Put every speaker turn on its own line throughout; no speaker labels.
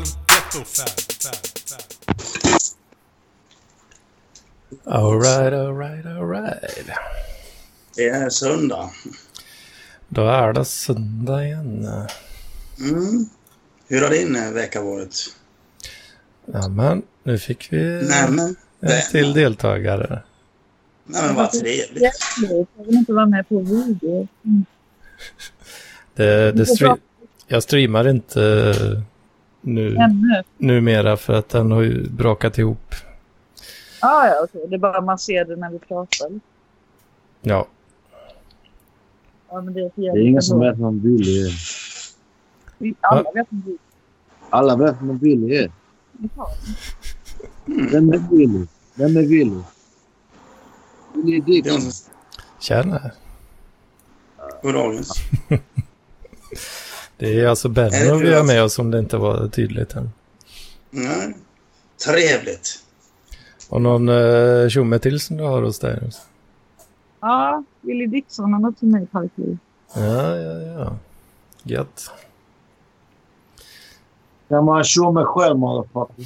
stort fan. fan, fan.
Alright, alright, alright.
Det är söndag.
Då är det söndag igen.
Mm. Hur har din eh, vecka varit?
Nämen, nu fick vi
Nämen.
en till deltagare.
Nämen, vad trevligt.
Jag vill inte vara med på video.
Det, det stre- jag streamar inte nu,
Ännu.
numera för att den har ju brakat ihop.
Ah, ja, okej. Det är bara man ser det när vi pratar.
Ja,
Ja, men det, är
Det är ingen som vet vem Billy är.
Alla vet om det.
Alla vet vem Billy är.
Ja.
Vem är Billy? Vem är Billy? Billy
Det är någon
Dickinson.
som...
tjena.
God dagens.
Det är alltså Benno vi har med oss om det inte var tydligt än.
Nej. Trevligt.
Och någon eh, tjomme till som du har hos dig.
Ja, Willy Dixon han har till mig parkliv.
Ja, ja, ja. Gött.
Kan man tjo mig själv, motherfucker?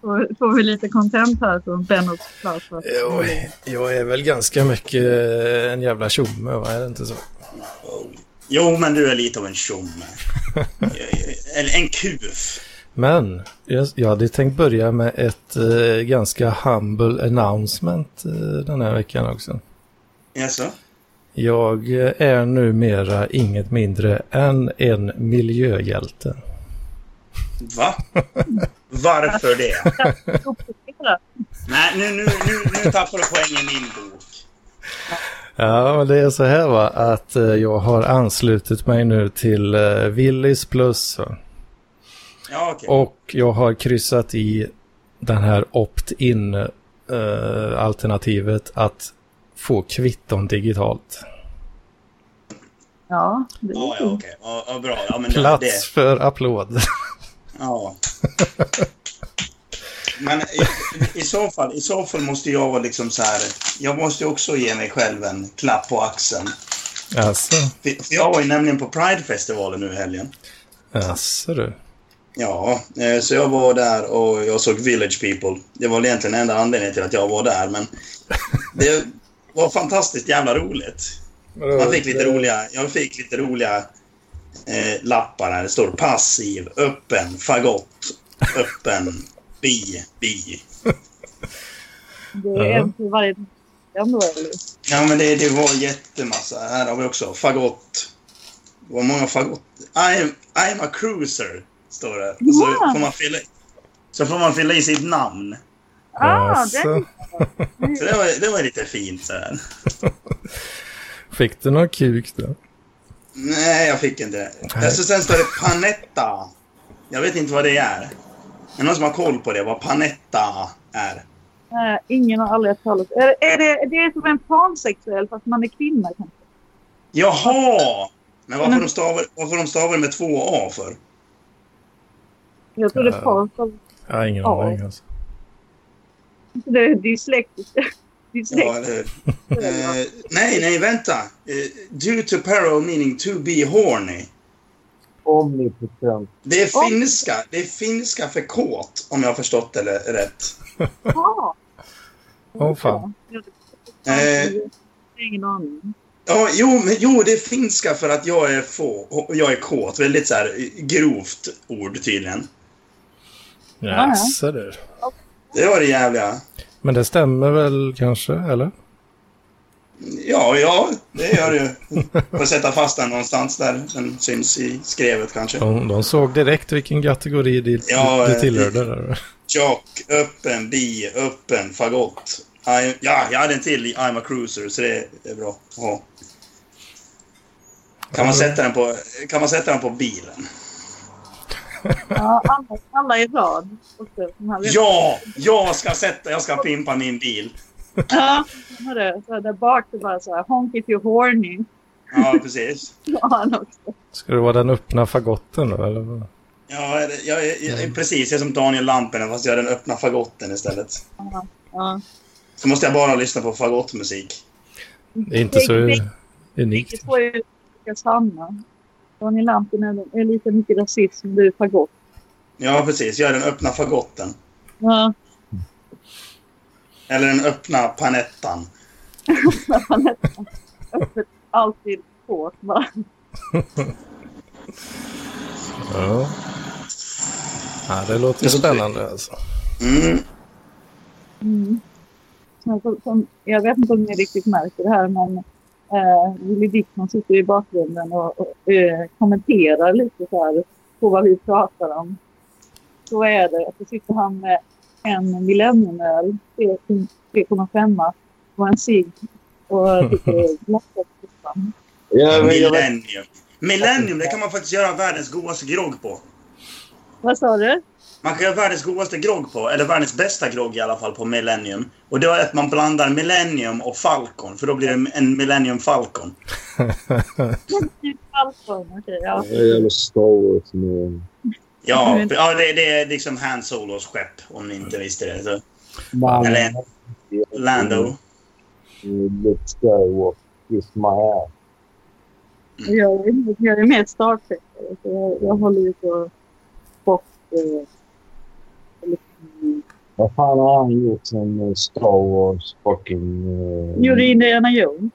Får, får vi lite content här från Bennos plats? va?
Jo, jag är väl ganska mycket eh, en jävla tjomme, va? Är det inte så?
Jo, men du är lite av en tjomme. Eller en kuf.
Men jag, jag hade tänkt börja med ett eh, ganska humble announcement eh, den här veckan också.
Jaså?
Jag eh, är numera inget mindre än en miljöhjälte.
Va? Varför det?
Uppdatera.
Nej, nu, nu, nu, nu tappar du poängen i min bok.
Ja, men det är så här va, att eh, jag har anslutit mig nu till eh, Willys Plus. Va?
Ja, okej.
Och jag har kryssat i den här opt-in eh, alternativet att få kvitton digitalt.
Ja, det
Ja,
är
ja,
fint.
okej. Ja, ja, bra. Ja, men det, det.
Plats för applåd.
Ja. Men i, i, så fall, i så fall måste jag vara liksom så här. Jag måste ju också ge mig själv en klapp på axeln.
Alltså,
För, för jag var ju nämligen på Pride-festivalen nu i helgen.
alltså du.
Ja, eh, så jag var där och jag såg Village People. Det var väl egentligen enda anledningen till att jag var där, men det var fantastiskt jävla roligt. Man fick lite roliga, jag fick lite roliga eh, lappar där det står passiv, öppen, fagott, öppen, bi, bi.
Det är
Ja.
en till varje ändå, eller?
Ja, men det, det var jättemassa. Här har vi också fagott. Det var många fagott. I am, I am a cruiser, står det. Och så,
Ja.
får man fylla, så får man fylla i sitt namn.
Ah, det,
Så det var, det var lite fint. Så här.
Fick du någon kuk då?
Nej, jag fick inte det.
Nej.
Alltså, sen står det panetta. Jag vet inte vad det är. Är det någon som har koll på det? Vad panetta är?
nej, eh, ingen har aldrig hört talas är, är det, det är som en pansexuell fast man är kvinna kanske?
Jaha! Men varför
Men-
de stavar, varför de stavar det med två A för?
Jag trodde
Ja.
pansexuell
Jag har ingen
Ja.
aning alltså.
Det är dyslektiska.
Ja,
Dyslektiska.
eller hur? Eh, nej, nej, vänta. Eh, due to peril meaning to be horny.
Omnipotent.
Det är
Oj.
finska. Det är finska för kåt, om jag har förstått det eller- rätt.
Ja.
Åh, fan.
Jag
Eh.
har ingen aning.
Ja, jo, men, jo, det är finska för att jag är få, jag är kåt. Väldigt så här eh, grovt ord tydligen.
ja.
Jaså du.
Det var det jävliga.
Men det stämmer väl kanske, eller?
Ja, ja, det gör det ju. Får sätta fast den någonstans där den syns i skrevet kanske.
De, de såg direkt vilken kategori du,
Ja,
du
eh,
tillhörde där.
Jock, öppen, bi, öppen, fagott. I, ja, jag hade en till i I'm a cruiser, så det är bra att ha. Kan man sätta den på, kan man sätta den på bilen?
Ja, alla, alla i rad. Också, som här.
Ja! Jag ska sätta, jag ska pimpa min bil.
Ja, hörru, så där bak det bara så här honk if you're horny.
Ja, precis.
Ja, han också.
Ska det vara den öppna fagotten då, eller? vad?
Ja, jag, jag, jag, jag, precis. Jag är som Daniel Lampinen, fast jag är den öppna fagotten istället.
Ja.
Så måste jag bara lyssna på fagottmusik.
Det är inte så
Det-
unikt.
Det får ju ska samma. Daniel Lampinen är lika mycket rasist som du är fagott.
Ja, precis. Jag är den öppna fagotten.
Ja,
Eller den öppna panettan.
när man är öppet alltid hårt bara.
Ja. ja det låter ju
Jag tror-
spännande alltså.
Mm.
Mm. Men Som, som, jag vet inte om ni riktigt märker det här, men eh, Willy Dickman sitter i bakgrunden och, och eh, kommenterar lite så här på vad vi pratar om. Så är det. Och så sitter han med en millenniumöl, 3,5 och en cigg och dricker glassexpressman.
Jag vet, jag vet.
Millennium. Millennium, det kan man faktiskt göra världens godaste grogg på.
Vad sa du?
Man kan göra världens godaste grogg på, eller världens bästa grogg i alla fall, på Millennium. Och då är att man blandar Millennium och Falcon, för då blir det en Millennium Falcon.
Falcon, okej. ja.
Jag är jävla Star Wars nu.
Ja,
Mm.
ja det, det är liksom Han Solos skepp, om ni inte visste det. Så,
Man,
eller Lando.
Luke Skywalker. Kiss my ass.
Jag, är- jag är med Star Trek. Så jag, jag håller ju på bort... Eh, liksom,
Vad fan har han gjort sen eh, Star Wars fucking... eh,
gjorde Indiana Jones.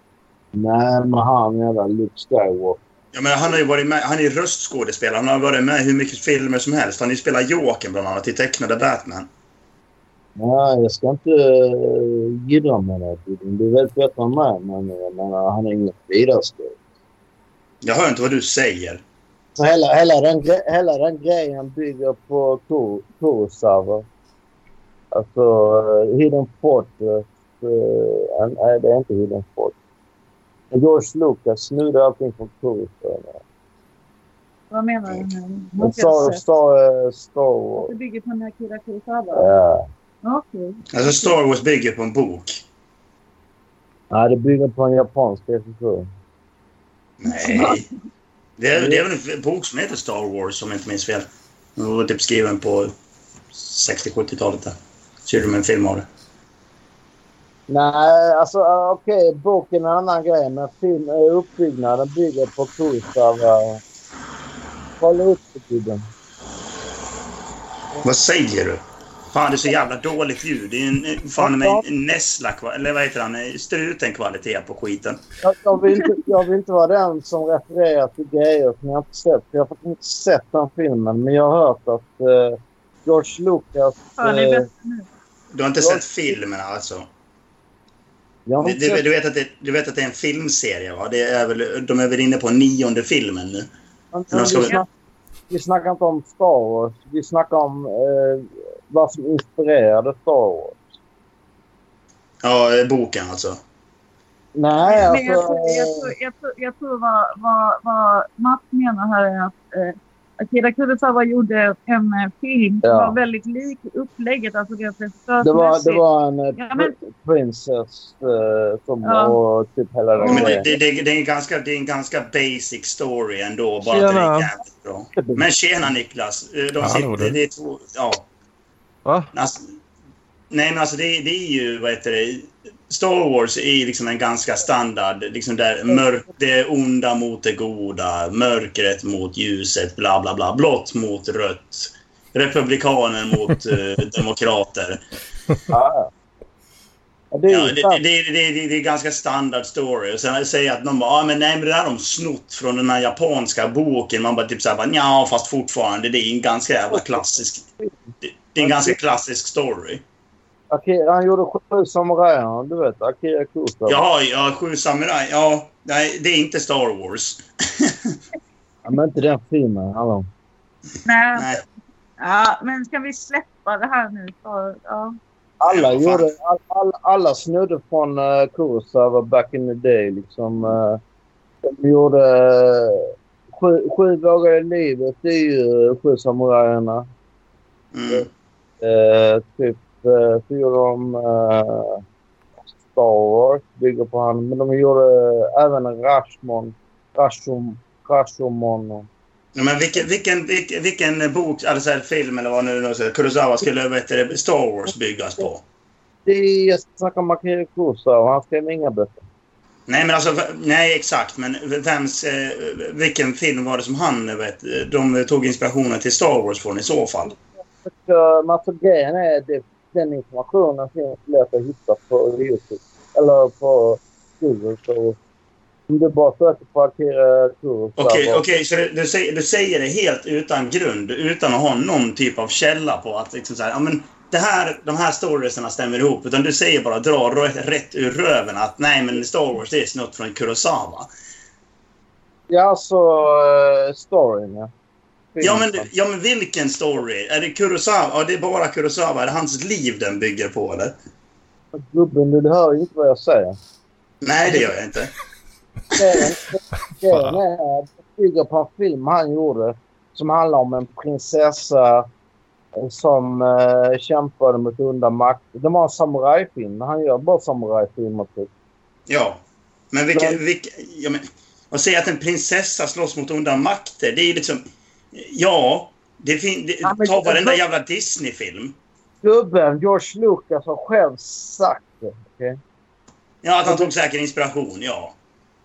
Nej, men han jävla Luke Skywalker.
Ja, men han har ju varit med, han är ju röstskådespelare. Han har varit med i hur mycket filmer som helst. Han har ju spelat Jokern bland annat i tecknade Batman.
Nej, jag ska inte eh, gidra med det. Du vet bättre än mig, men jag menar, han är inget vidare stor.
Jag hör inte vad du säger.
Så hela, hela, den, gre- hela den grejen bygger på Kor- Kurosawa. Alltså, eh, Hidden Fortress. eh, nej, det är inte Hidden Fortress. George Lucas snodde allting från Kurosawa.
Vad menar du nu?
Men
Vad ska jag
Star,
säga?
Star, eh, Star
Att
Wars.
Det bygger på en Akira Kurosawa?
Ja.
Okej.
Alltså, Star Wars bygger på en bok.
Nej, det bygger på en japansk regissör.
Nej. Det är, det är väl en bok som heter Star Wars, om jag inte minns fel. Den var typ skriven på 60-70-talet. där. Så gjorde de en film av det.
Nej, alltså eh, okej, boken är en annan grej, men film, eh, uppbyggnaden bygger på eh, Kurosawa. Kolla upp det, gubben.
Vad säger du? Fan, det är så jävla dåligt ljud. Det är ju en, fan med en näsla, kva- eller vad heter han, En struten kvalitet på skiten.
Jag, jag, vill inte, jag vill inte vara den som refererar till grejer som jag inte sett. för Jag har faktiskt inte sett den filmen, men jag har hört att eh, George Lucas...
Fan, det är
eh,
bättre nu.
Du har inte sett filmen alltså?
jag har
Du,
inte
du,
sett
du, vet att det, du vet att det är en filmserie, va? Det är väl, de är väl inne på nionde filmen nu?
den.
men de ska
vi,
väl-
snack, vi snackar inte om Star Wars. Vi snackar om eh, vad som inspirerade Star Wars.
Ja, eh, boken alltså.
Nej,
Men jag
alltså...
tror, jag tror, jag tror, jag tror vad, vad, vad Mats menar här är att eh, Akira Kurosawa gjorde en eh, film som
Ja.
var väldigt lik upplägget, alltså rent
eh, det, var,
regissörsmässigt.
det var en eh,
Ja, men-
pr- princess eh, som
Ja.
och typ hela den
Men det,
grejen.
det, det, det, är en ganska, det är en ganska basic story ändå, bara att den
Tjena.
är jävligt bra. Men tjena Niklas! Eh, De
Ja, hallå,
sitter,
du.
det är två, ja.
Va?
Men Alltså, nej, men alltså det, det är ju, vad heter det, Star Wars är liksom en ganska standard, liksom där mörk, det onda mot det goda, mörkret mot ljuset, bla bla bla, blått mot rött, republikaner mot eh, demokrater.
Ja, ja. Det är
Ja,
ju
det, det,
sant.
det, det, det, det är ganska standard story. Och sen säger jag att någon bara, ah, men nej men det där har de snott från den här japanska boken. Man bara typ såhär, ja fast fortfarande det är en ganska jävla klassisk... Det, det är en ganska klassisk story.
Akira, han gjorde sju samurajer, du vet. Akira Kurosawa.
Jaha, ja, Sju samurajer. Ja, nej, det är inte Star Wars.
Ja, Men inte den filmen. Hallå.
Nej,
Nej.
Ja, men ska vi släppa det här nu? Så, ja.
Alla,
Ja, fan.
gjorde, all, all, alla snudde från uh, Kurosawa back in the day. Liksom, eh, de gjorde eh, sju, sju dagar i livet. Det är ju eh, Sju samurajerna.
Mm.
Eh, typ, uh, så gjorde de eh, Star Wars, bygger på han. Men de gjorde eh, även Rashomon. Rashom, Rashomon.
Ja, Men vilken, vilken, vilken, vilken bok, eller så här, film eller vad nu det är, Kurosawa skulle vad heter det, Star Wars byggas på?
Det är, jag snackar om Akira Kurosawa. Han skrev inga böcker.
Nej, men alltså, v- nej exakt. Men v- vems, eh, vilken film var det som han eh, vet, de tog inspirationen till Star Wars från i så fall?
Så, men alltså grejen är det, den informationen finns lätt att hitta på Youtube. Eller på Google. Så om du bara söker på eh, Akira Kurosawa.
Okej, okej, så du, du, säger, du säger det helt utan grund, utan att ha någon typ av källa på att liksom så här, ja men det här, de här storiesarna stämmer ihop. Utan du säger bara, dra rö- rätt ur röven att nej men Star Wars det är snott från Kurosawa.
Ja, alltså eh, storyn ja.
Ja men, ja men vilken story? Är det Kurosawa? Ja det är bara Kurosawa. Är det hans liv den bygger på eller?
Gubben, du hör ju inte vad jag säger.
Nej det gör jag inte.
Grejen- Grejen är att det bygger på en film han gjorde som handlar om en prinsessa som eh, kämpade mot onda makter. Det var en samurajfilm. Han gör bara samurajfilmer typ.
Ja. Men vilken... vilken ja, men, och säga att en prinsessa slåss mot onda makter, det är ju liksom... Ja. Det fin, det,
Ja, men-
ta varenda jävla Disney-film.
Gubben, George Lucas har själv sagt det. okej?
Ja, att han tog säker inspiration, ja.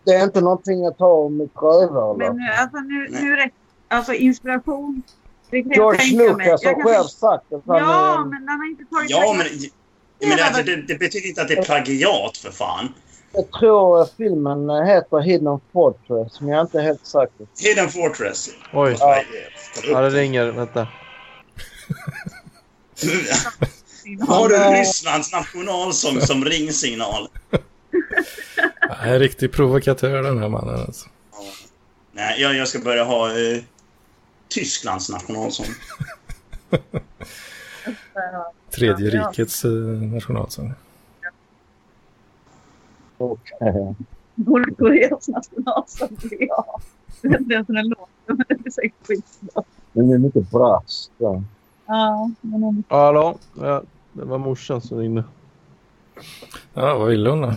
Det är inte någonting jag tar om mitt
Men
rövhål.
nu, alltså, nu, nu räcker Alltså inspiration. Det kan jag
George
tänka mig.
Lucas
Jag
har
kan
själv
förstå-
sagt att han är
Ja,
en-
men han har inte tagit
Ja, men... Ja, men det,
Jävlar.
alltså, det, det betyder inte att det är plagiat, för fan.
Jag tror eh, filmen heter Hidden Fortress, men jag är inte helt säker.
Hidden Fortress.
Oj.
Ja.
Ja, det ringer. Vänta.
Har du Rysslands nationalsång som ringsignal?
Han är en riktig provokatör den här mannen alltså.
Nej, jag, jag ska börja ha eh, Tysklands nationalsång.
Tredje
Ja, ja.
rikets eh, nationalsång.
Och,
Nordkoreas nationalsång. Ja. Det är inte ens en låt. Men det är säkert skitbra.
den är mycket brass. Ja.
Ja, men om-
Ja, hallå? Ja, det var morsan som ringde.
Ja, vad vill hon då?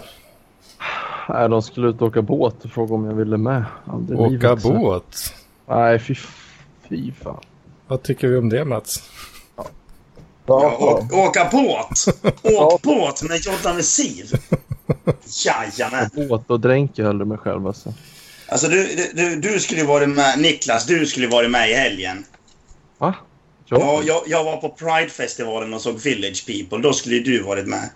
Nej, de skulle ut och åka båt och fråga om jag ville med. Aldrig i
Åka
livet, så.
båt?
Nej, fy, fy fan.
Vad tycker vi om det Mats?
Ja, å- åka båt! Åk båt med Jordan Wesir! Jajamän!
Båt och dränker höll du mig själv alltså.
Alltså du, du, du skulle ju varit med, Niklas, du skulle ju varit med i helgen.
Va?
Ja, jag, jag var på Pride-festivalen och såg Village People, då skulle ju du varit med.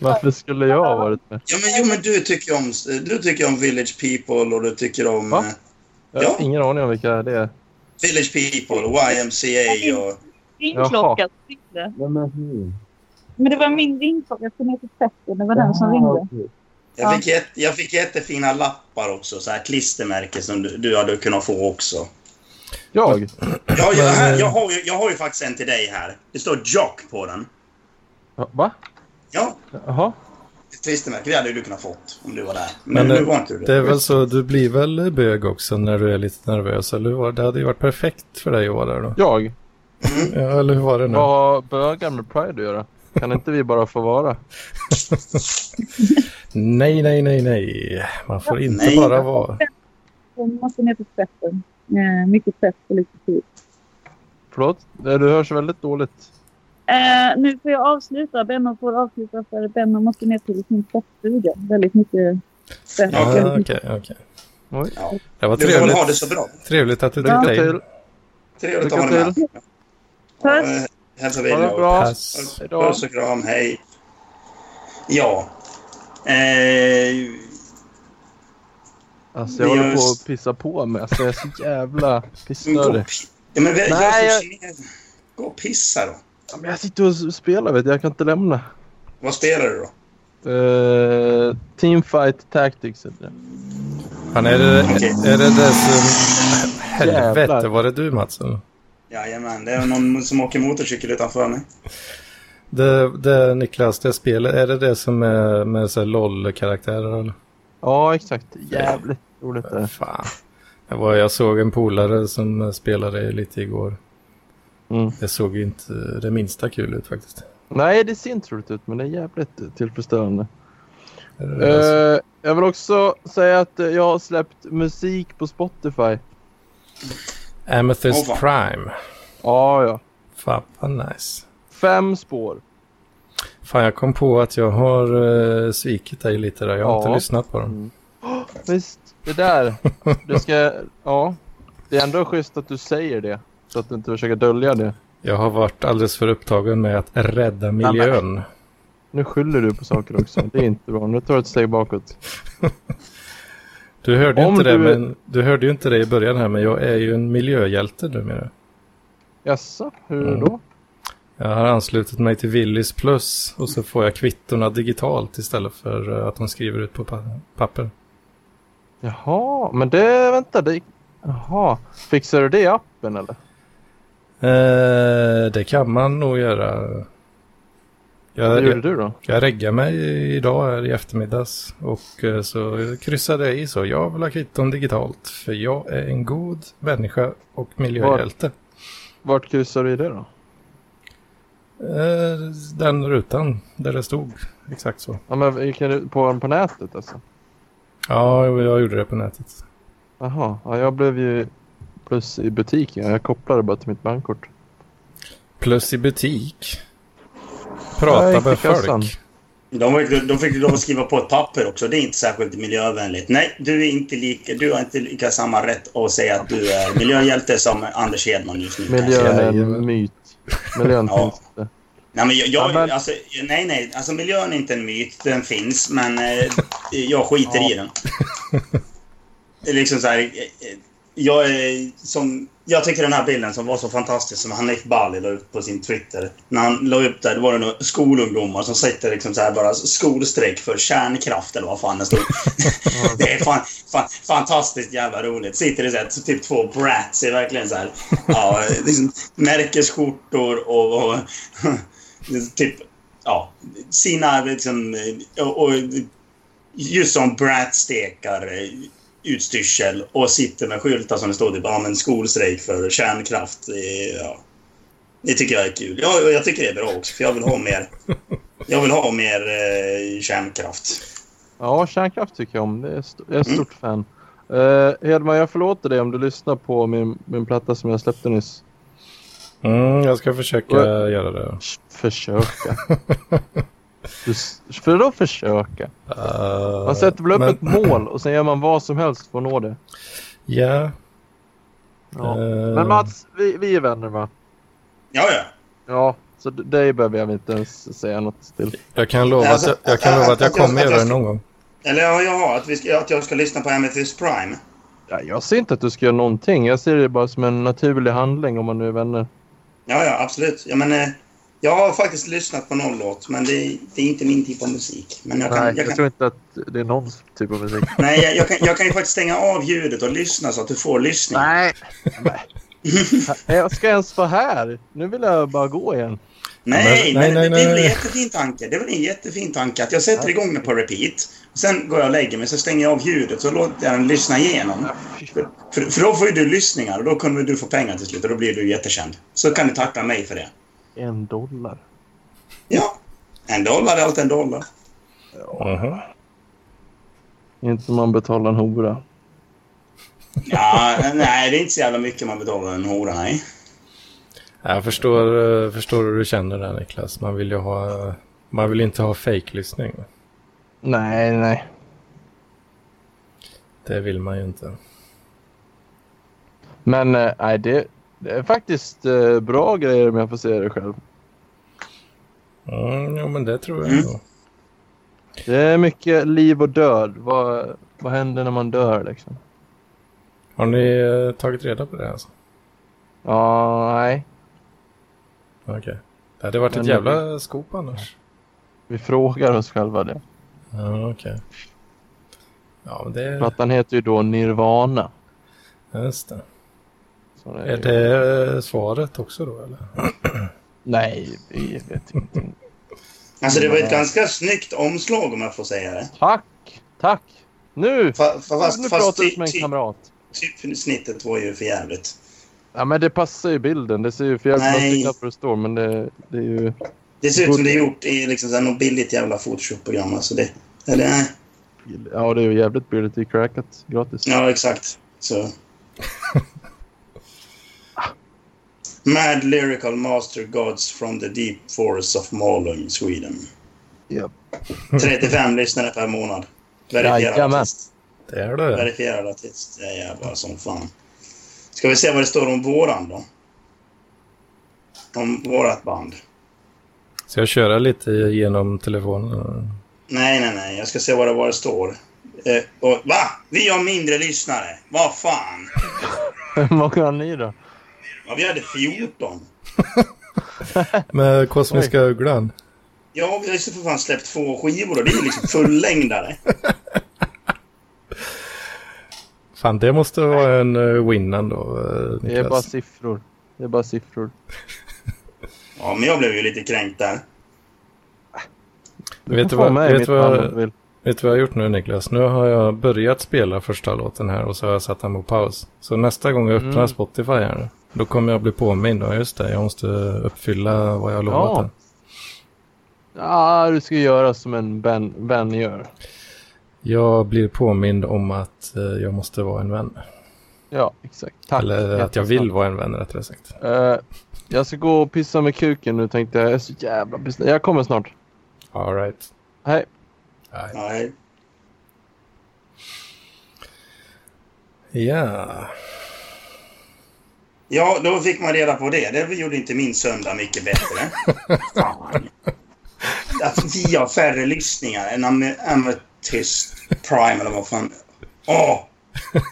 Varför skulle jag ha varit med?
Ja, men, jo, men du tycker om, du tycker om Village People och du tycker om
Va?
eh,
Jag har
Ja.
ingen aning om vilka det är.
Village People och YMCA och...
Din klocka som ringde. Men det var min ringklocka som hette Petter. Det var den som ringde.
Jag
Ja.
fick, jätte, jag fick jättefina lappar också, så här klistermärken som du, du hade kunnat få också.
Jag?
Ja, jag,
Men,
här,
eh,
jag, har ju, jag har ju faktiskt en till dig här. Det står Jock på den.
Ja, Va?
Ja,
Jaha.
ett klistermärke. Det hade ju du kunnat fått om du var där. Men,
Men,
nu
eh,
var inte du
Det är väl så, du blir väl bög också när du är lite nervös, eller hur? var det? Det hade ju varit perfekt för dig att vara där då.
Jag?
Ja, eller hur var det nu?
Vad har bögar med Pride att göra? Kan inte vi bara få vara?
Nej, nej, nej, nej. Man får inte
Nej.
bara vara.
Hon måste ner till tvätten. Eh, mycket tvätt på lite tid.
Förlåt? Nej, Du hörs väldigt dåligt.
Eh, nu får jag avsluta. Benno får avsluta för Benno måste ner till sin tvättstuga. Väldigt mycket tvätt.
Ja,
Ja,
Väldigt
Okej,
mycket
okej.
Oj.
Ja.
Det var
Du får väl ha
trevligt,
det så bra.
trevligt att du
Lycka
tittade in.
till.
Trevligt att
Lycka
ha dig med.
tvätt.
Och, eh, Hälsa
Ha det
vidare. och-
bra.
Pass.
Hej då.
Puss och kram, hej. Ja. Eh,
Alltså jag håller på
Just-
att pissa på mig. Alltså jag är så jävla
gå, och
pissnödig.
pi- ja, men, vi-
Nej,
jag, jag... Gå och pissa då.
Ja, men Jag sitter och spelar vet du. Jag kan inte lämna.
Vad spelar du då?
Uh, teamfight Tactics heter det.
Han är det,
Okej.
är det det som... Helvete,
Jävlar.
var det du Mats? eller?
Jajamän, det är någon som åker motorcykel utanför mig.
Det, det Niklas, det spelet, är det det som är med så här LOL-karaktärer eller?
Ja exakt. Jävligt roligt det.
Fan. Det var, jag såg en polare som spelade lite igår.
Mm.
Det såg ju inte det minsta kul ut faktiskt.
Nej det ser inte roligt ut men det är jävligt tillfredsställande.
Är det det alltså?
Eh, jag vill också säga att eh, jag har släppt musik på Spotify.
Amethyst
åh, fan.
Prime.
Ja ja.
Fan vad nice.
Fem spår.
Fan, jag kom på att jag har eh, svikit dig lite där. Jag har
Ja.
inte lyssnat på dem.
Visst, det där. Du ska, ja. Det är ändå schysst att du säger det. Så att du inte försöker dölja det.
Jag har varit alldeles för upptagen med att rädda
men-
miljön.
Nu skyller du på saker också. Det är inte bra. Nu tar du ett steg bakåt.
Du hörde, ju
Om
inte det,
du är-
men, du hörde ju inte det i början här, men jag är ju en miljöhjälte numera.
Jaså, hur
Mm.
då?
Jag har anslutit mig till Willys Plus och så får jag kvittorna digitalt istället för eh, att de skriver ut på pa- papper.
Jaha, men det, vänta, det... Jaha, fixar du det i appen eller?
Eh, det kan man nog göra.
Vad
Jag,
gjorde
jag,
du då?
jag reggade mig idag här i eftermiddags och eh, så kryssade jag i så. Jag vill ha kvitton digitalt för jag är en god människa och miljöhjälte.
Vart kryssar du i det då?
Eh, den rutan där det stod exakt så.
Ja, men gick ni på, på nätet alltså?
Ja, jo, jag gjorde det på nätet.
Jaha, ja, jag blev ju plus i butiken. Jag kopplade bara till mitt bankkort.
Plus i butik.
Jag
Prata
gick
med
till kassan.
folk.
De, var ju- de fick ju lov att skriva på ett papper också. Det är inte särskilt miljövänligt. Nej, du, är inte lika, du har inte lika samma rätt att säga att du är miljöhjälte som Anders Hedman just nu. kanske.
Miljön är en
Jajamän.
myt. Miljön
Ja.
finns inte.
Nej, men jag, jag,
Ja, men-
Alltså, nej, nej. Alltså, miljön är inte en myt. Den finns, men eh, jag skiter i den. Det är liksom så här... eh, eh, Jag, är som, jag tycker den här bilden som var så fantastisk som Hanif Bali la ut på sin Twitter. När han la upp där, det var det några skolungdomar som sitter liksom så här bara skolstrejk för kärnkraft eller vad fan det stod. det är fan, fan, fantastiskt jävla roligt. Sitter det så här, typ två brats är verkligen så här. Ja, liksom, märkesskjortor och, och typ, ja, sina liksom, och, och just som bratstekar eh, utstyrsel och sitter med skyltar som det står typ, ja men skolstrejk för kärnkraft. eh, Ja. Det tycker jag är kul. Ja, och jag tycker det är bra också, för jag vill ha mer, jag vill ha mer eh, kärnkraft.
Ja, kärnkraft tycker jag om. Det är st- jag är ett stort fan. Eh, Hedman, jag förlåter dig om du lyssnar på min, min platta som jag släppte nyss.
Mm, jag ska försöka
Och-
göra det.
Försöka. Du, s- för då försöka?
Eh,
Uh,
Man sätter väl upp ett mål och sen gör man vad som helst för att nå det.
Ja.
Ja.
eh,
Men Mats, vi, vi är vänner va?
Ja, ja.
Ja, så d- dig behöver jag inte ens säga något till.
Jag kan lova att
Alltså,
jag, jag, kan lova att jag
att jag-
kommer
att jag
göra det
ska-
någon gång.
Eller ja, jag har att, vi ska, att jag ska lyssna på Amethyst Prime.
Ja, jag ser inte att du ska göra någonting. Jag ser det bara som en naturlig handling om man nu är vänner.
Ja, ja, absolut. Ja, men, eh, jag har faktiskt lyssnat på någon låt, men det, det är inte min typ av musik. Men jag kan,
Nej,
jag
jag
kan,
tror inte att det är någon typ av musik.
nej, jag, jag, kan, jag kan ju faktiskt stänga av ljudet och lyssna så att du får lyssning.
Nej. Nej. Jag ska ens vara här. Nu vill jag bara gå igen.
Nej,
Men- nej, nej,
men, det är väl en
nej.
jättefin tanke. Det är väl en jättefin tanke att jag sätter igång den på repeat. Och sen går jag och lägger mig, så stänger jag av ljudet så låter jag den lyssna igenom. För, för, för då får ju du lyssningar och då kommer du få pengar till slut och då blir du jättekänd. Så kan du tacka mig för det.
En dollar.
Ja, en dollar är allt en dollar.
Mhm.
Inte om man betalar en hora.
Ja, nej, det är inte så jävla mycket man betalar en hora, nej.
Jag förstår, eh, förstår hur du känner där Niklas. Man vill ju ha, man vill inte ha fake-lyssning.
Nej, nej.
Det vill man ju inte.
Men eh, nej, det, det är faktiskt eh, bra grejer om jag får säga det själv.
Mm, jo, men det tror jag
Mm.
ändå.
Det är mycket liv och död. Vad, vad händer när man dör liksom?
Har ni eh, tagit reda på det? Alltså?
Ja, nej.
Okej. Det hade varit
Men
ett
det-
jävla skop annars.
Vi frågar oss själva det.
Ja, okej. Ja, men det...
Plattan heter ju då Nirvana.
Just det.
Så det
Är det eh, svaret också då, eller?
Nej, vi vet ingenting.
Alltså det var ett ganska snyggt omslag om jag får säga det.
Tack! Tack! Nu!
Fa- fa-
nu
Fast, fast
pratar du
ty,
som en
ty,
kamrat.
typsnittet var ju för jävligt.
Ja, men det passar ju bilden. Det ser ju för jävligt
Nej.
konstigt ut på det står, men det, det är ju...
Det ser ut som det är gjort i liksom så här något billigt jävla Photoshop-program. Alltså det, eller, nej.
Ja, det är ju jävligt billigt. Det är crackat gratis.
Ja, exakt. Så. Mad Lyrical Master Gods from the Deep Forests of Malung, Sweden.
Japp.
35 lyssnare per månad. Verifierad
Jajamän.
artist.
Det är det.
Verifierad artist. Det är jävla som fan. Ska vi se vad det står om våran då? Om vårat band.
Ska jag köra lite genom telefonen?
Nej, nej, nej. Jag ska se vad det, vad det står. Eh, och, va? Vi har mindre lyssnare. Vad fan?
Hur många har ni då?
Ja, vi hade 14.
Med kosmiska ugglan.
Ja, vi har ju för fan släppt två skivor och det är ju liksom fullängdare.
Fan, det måste vara en eh, win ändå, eh,
Det är bara
Niklas.
siffror. Det är bara siffror.
Ja, men jag blev ju lite kränkt där.
Du
Vet
får
du vad-
ha med
vet
mitt
du vad-
namn om du vill.
Vet du vad jag har gjort nu, Niklas? Nu har jag börjat spela första låten här och så har jag satt den på paus. Så nästa gång jag öppnar
Mm.
Spotify här nu, då kommer jag bli påmind. Ja, just det. Jag måste uppfylla vad jag har lovat.
Ja.
här.
Ja, du ska göra som en Ben, ben gör.
Jag blir påmind om att eh, jag måste vara en vän.
Ja, exakt. Tack.
Eller att jag vill vara en vän, rättare sagt.
Eh, jag ska gå och pissa med kuken nu tänkte jag. Jag är så jävla bestämd. Jag kommer snart.
All right.
Hej.
Nej.
Nej.
Ja.
Ja, då fick man reda på det. Det gjorde inte min söndag mycket bättre. Fan. Att vi har färre lyssningar än Am- Amethyst Prime eller vad fan. Åh!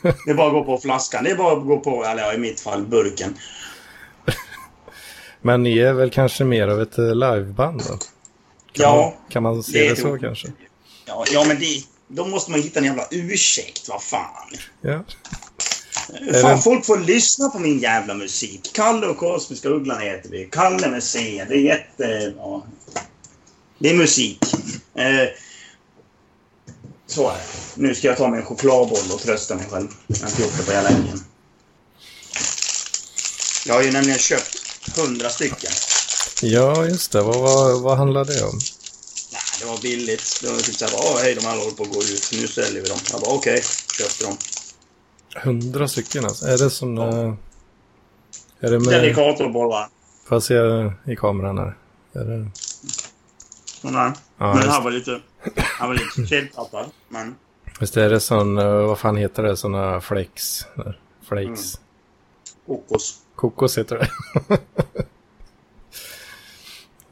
Det är bara att gå på flaskan. Det är bara att gå på, eller ja, i mitt fall, burken.
Men ni är väl kanske mer av ett eh, liveband då?
Ja,
Kan man se
Det är
det så
det.
kanske?
ja, ja men det, då måste man hitta en jävla ursäkt. Vad fan.
Ja.
Fan,
Eller-
folk får lyssna på min jävla musik. Kalle och Kosmiska Ugglan heter vi. Kalle med C. Det är jätte... Ja. Det är musik. Eh, så är det. Nu ska jag ta mig en chokladboll och trösta mig själv. Jag har inte gjort det på hela helgen. Jag har ju nämligen köpt hundra stycken.
ja, just det. Vad, vad, vad handlar det om?
Nej, det var billigt. Det var typ såhär, åh hej, de här håller på att gå ut. Nu säljer vi dem. Jag bara, okej. Köpte dem.
Hundra stycken alltså? Är det som... eh, Är det med...
Delicatorbollar.
Får jag se i kameran här? Är det...
Sådana här.
Ja,
men den
just,
här var lite... Han var lite kedtappad. Men...
visst är det sån... eh, Vad fan heter det? Såna flakes? där. Flakes.
Mm. Kokos.
Kokos heter det.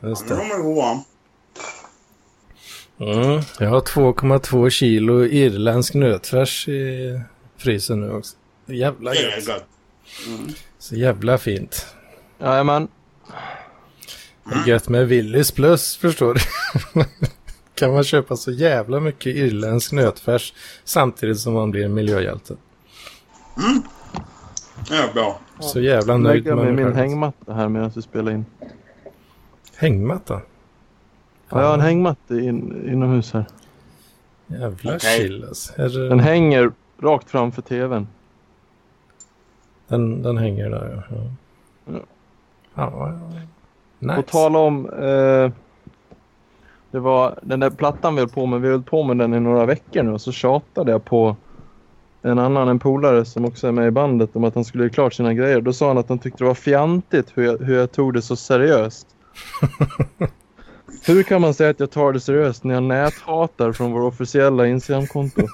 just
Ja,
det.
men de är goda.
Mm. Jag har 2,2 kilo irländsk nötfärs i frysen nu också. Jävla
Det är
gött.
gott.
Så jävla fint.
Jajamän.
Det är Gött med Willys plus, förstår du. kan man köpa så jävla mycket irländsk nötfärs samtidigt som man blir en miljöhjälte.
Det är bra.
Så jävla nöjd
Lägger mig i
mig
min
själv. alltså.
hängmatta här medan vi spelar in.
hängmatta.
Ja, jag har en hängmatta in, inomhus här.
Jävla
Okej.
chill alltså. Är det...
Den hänger rakt framför tvn.
den, den hänger där ja. ja.
Ja.
Fan, vad- Nice.
På tal om... Eh, det var den där plattan vi höll på med. Vi höll på med den i några veckor nu och så tjatade jag på en annan, en polare som också är med i bandet om att han skulle göra klart sina grejer. Då sa han att han tyckte det var fjantigt hur jag, hur jag tog det så seriöst. hur kan man säga att jag tar det seriöst när jag näthatar från vår officiella Instagramkonto?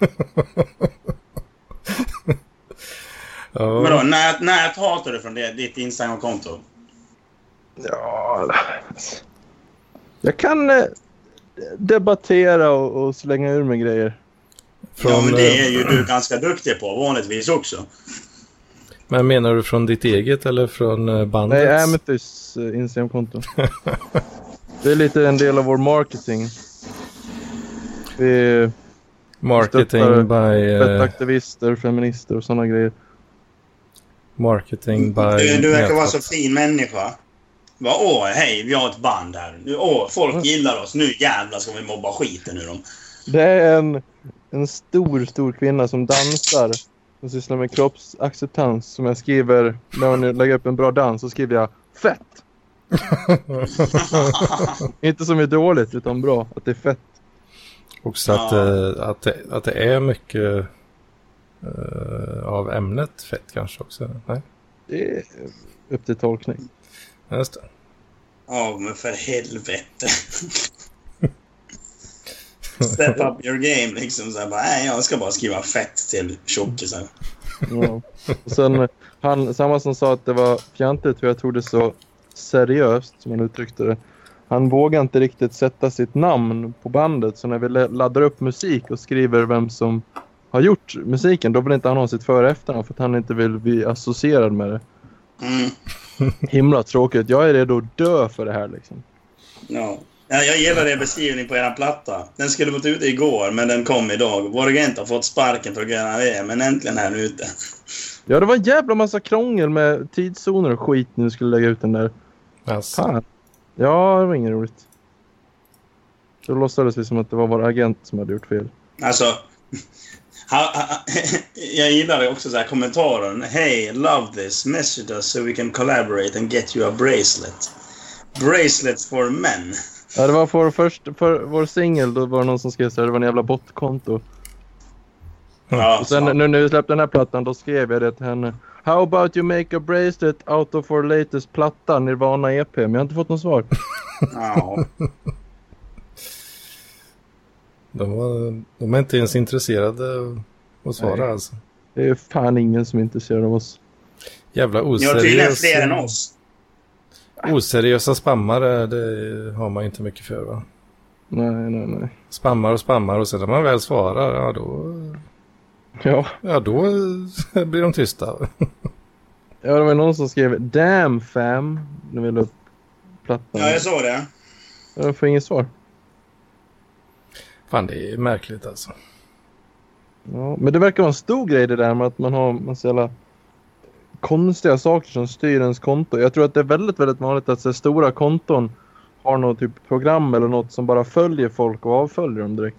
Ja.
Vadå, nät, nät hatar du från det, ditt Instagram-konto?
Ja, jag kan eh, debattera och, och slänga ur mig grejer.
Från,
ja, men det är
eh,
ju du ganska duktig på vanligtvis också.
men menar du från ditt eget eller från eh, bandets?
Nej, Amethysts eh, Instagramkonto. det är lite en del av vår marketing. Vi stöttar-
Marketing by... eh,
är aktivister, feminister och sådana grejer.
Marketing by...
Du, du verkar vara så
näthat.
fin människa. Bara, åh, hej, vi har ett band här. Nu, åh, folk gillar oss. Nu jävlar ska vi mobba skiten ur dem.
Det är en, en stor, stor kvinna som dansar. Som sysslar med kroppsacceptans. Som jag skriver, när hon lägger upp en bra dans så skriver jag fett. Inte som är dåligt utan bra, att det är fett.
Också att,
Ja.
eh, att, det, att det är mycket eh, av ämnet fett kanske också. Nej?
Det är upp till tolkning.
Just det.
Ja, men för helvete. Step up your game liksom. Så här, bara, nej, jag ska bara skriva fett till tjockisen.
Ja. Och sen, han, samma som sa att det var fjantigt hur jag tog det så seriöst, som han uttryckte det. Han vågar inte riktigt sätta sitt namn på bandet, så när vi la- laddar upp musik och skriver vem som har gjort musiken, då vill inte han ha sitt före och efternamn för att han inte vill bli associerad med det.
Mm.
Himla tråkigt. Jag är redo att dö för det här liksom.
Ja. Ja, jag gillar er beskrivning på era platta. Den skulle varit ute igår, men den kom idag. Vår agent har fått sparken för att göra det, men äntligen är den ute.
Ja, det var en jävla massa krångel med tidszoner och skit när vi skulle lägga ut den där.
Alltså,
Fan. Ja, det var inget roligt. Då låtsades vi som att det var vår agent som hade gjort fel.
Alltså, ha, ha, jag gillar det också så här kommentaren. Hey, love this. Message us so we can collaborate and get you a bracelet. Bracelets for
Mm.
men.
Ja, det var för, först, för vår singel, då var det någon som skrev så här, det var en jävla botkonto.
Ja,
Och sen
fan.
nu när vi släppte den här plattan, då skrev jag det till henne. How about you make a bracelet out of our latest platta, Nirvana EP? Men jag har inte fått något svar.
ja.
de, var, de är inte ens intresserade av att svara
Nej.
alltså.
Det är fan ingen som är intresserad av oss.
Jävla
Ni har tydligen
oseriösa,
fler än oss.
oseriösa spammare, det har man ju inte mycket för va?
Nej, nej, nej.
Spammar och spammar och sen när man väl svarar, ja då,
Ja,
ja, då blir de tysta.
ja det var någon som skrev Damn fam när vi la upp plattan.
Ja, jag såg det.
Jag får inget svar.
Fan, det är märkligt alltså.
Ja, men det verkar vara en stor grej det där med att man har massa jävla konstiga saker som styr ens konto. Jag tror att det är väldigt, väldigt vanligt att så här, stora konton har något typ program eller något som bara följer folk och avföljer dem direkt.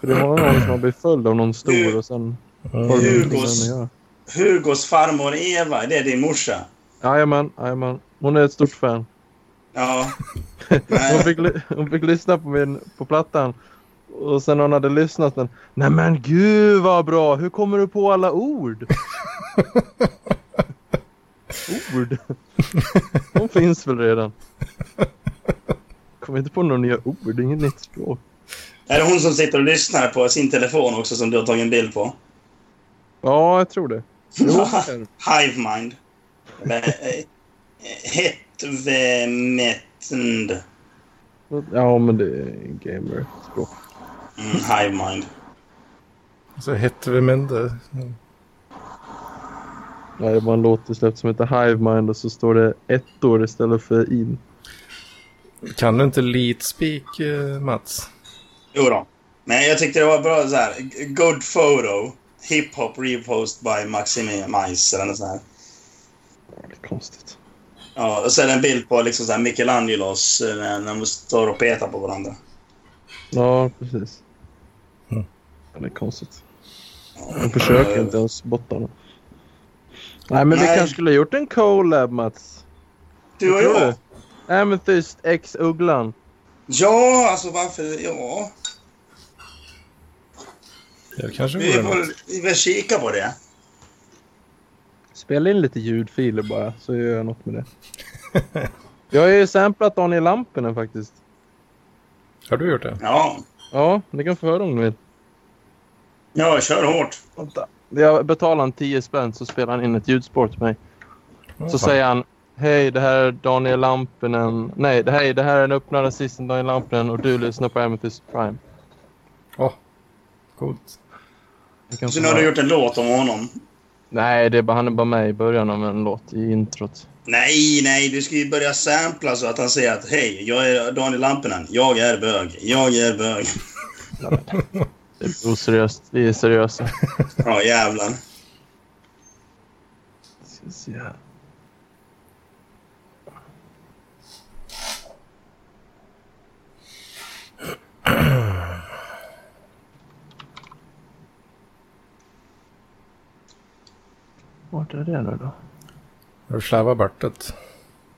För det är många gånger som man blir följd av någon stor och sen får man inte med
Hugos.
att göra.
Hugos farmor Eva, det är din morsa.
Jajamän, jajamän. Hon är ett stort fan.
Ja.
Hon
Nej.
fick, ly- hon fick lyssna på, min, på plattan. Och sen när hon hade lyssnat den. Nej men gud vad bra! Hur kommer du på alla ord? ord? De finns väl redan? Kom inte på några nya ord, det är inget nytt språk.
Är det hon som sitter och lyssnar på sin telefon också som du har tagit en bild på?
Ja, jag tror det. Jo,
Hive mind. Eller, eh, Hetvemetnd.
ja men det är gamer-språk.
Mm, hive mind.
Så hette vi men det.
Nej, det var en låt du släppte som heter Hive Mind och så står det ettor istället för in.
Kan du inte leadspeak, eh, Mats?
Jo då. Men jag tyckte det var bra så här. Good photo. Hiphop repost by Maxime Mice eller något sånt här.
Ja, det är konstigt.
Ja, och sen en bild på liksom så här Michelangelos eh, när de står och petar på varandra.
Ja, precis.
Mm.
Ja, Det är konstigt. De försöker inte ens bottarna. Nej, men vi
Nej.
kanske skulle ha gjort en collab, Mats.
Du och
Vad tror
jag?
du? Amethyst X Ugglan.
Ja, alltså varför? Ja.
Jag kanske
Vi
vore något.
får, vi får kika på det.
Spela in lite ljudfiler bara, så gör jag något med det. jag har ju samplat Daniel Lampinen faktiskt.
Har du gjort det?
Ja.
Ja, ni kan få höra om ni vill.
Ja, kör hårt.
Vänta. Jag betalar han 10 spänn så spelar han in ett ljudspår till mig. Så säger han Hej, det här är Daniel Lampinen. Nej, det, hej, det här är den öppna rasisten Daniel Lampinen och du lyssnar på Amethyst Prime.
Åh, coolt.
Jag kan
Så
få
nu har du
höra.
gjort en låt om honom.
Nej, det är bara, han är bara med i början av en låt i introt.
Nej, nej, du ska ju börja sampla så att han säger att hej, jag är Daniel Lampinen. Jag är bög. Jag är bög.
Det är oseriöst. Vi är seriösa.
Ja, jävlar.
Ska se här. Vart är det nu då?
Har du slarvat bort det?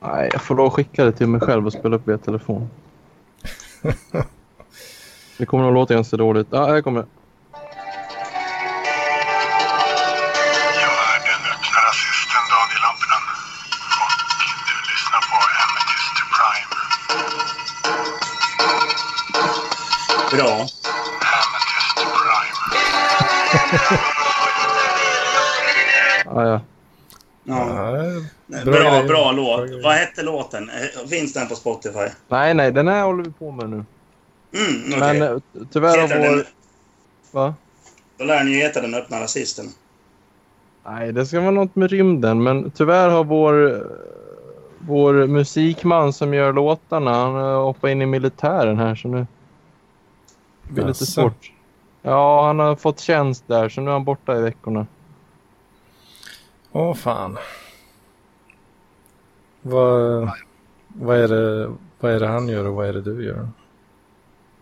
Nej, jag får lov att skicka det till mig själv och spela upp via telefon. Det kommer att låta ganska dåligt. Ja, här kommer det.
Jag är den öppna
bra.
Ja, ja.
Ja.
Ja,
Bra,
bra
bra,
grej. Bra
låt.
grej.
Vad hette låten? Eh, Finns den på Spotify?
Nej, nej, den här håller vi på med nu.
Mm, okej.
Men eh, tyvärr
Heter
har
den,
vår... Va?
då lär den ju heta Den öppna rasisten.
Nej, det ska vara något med rymden, men tyvärr har vår, eh, vår musikman som gör låtarna, han eh, hoppar in i militären här så nu blir det lite
Jaså.
svårt. Ja, han har fått tjänst där så nu är han borta i veckorna.
Åh fan. Vad, vad, är det, vad är det han gör och vad är det du gör?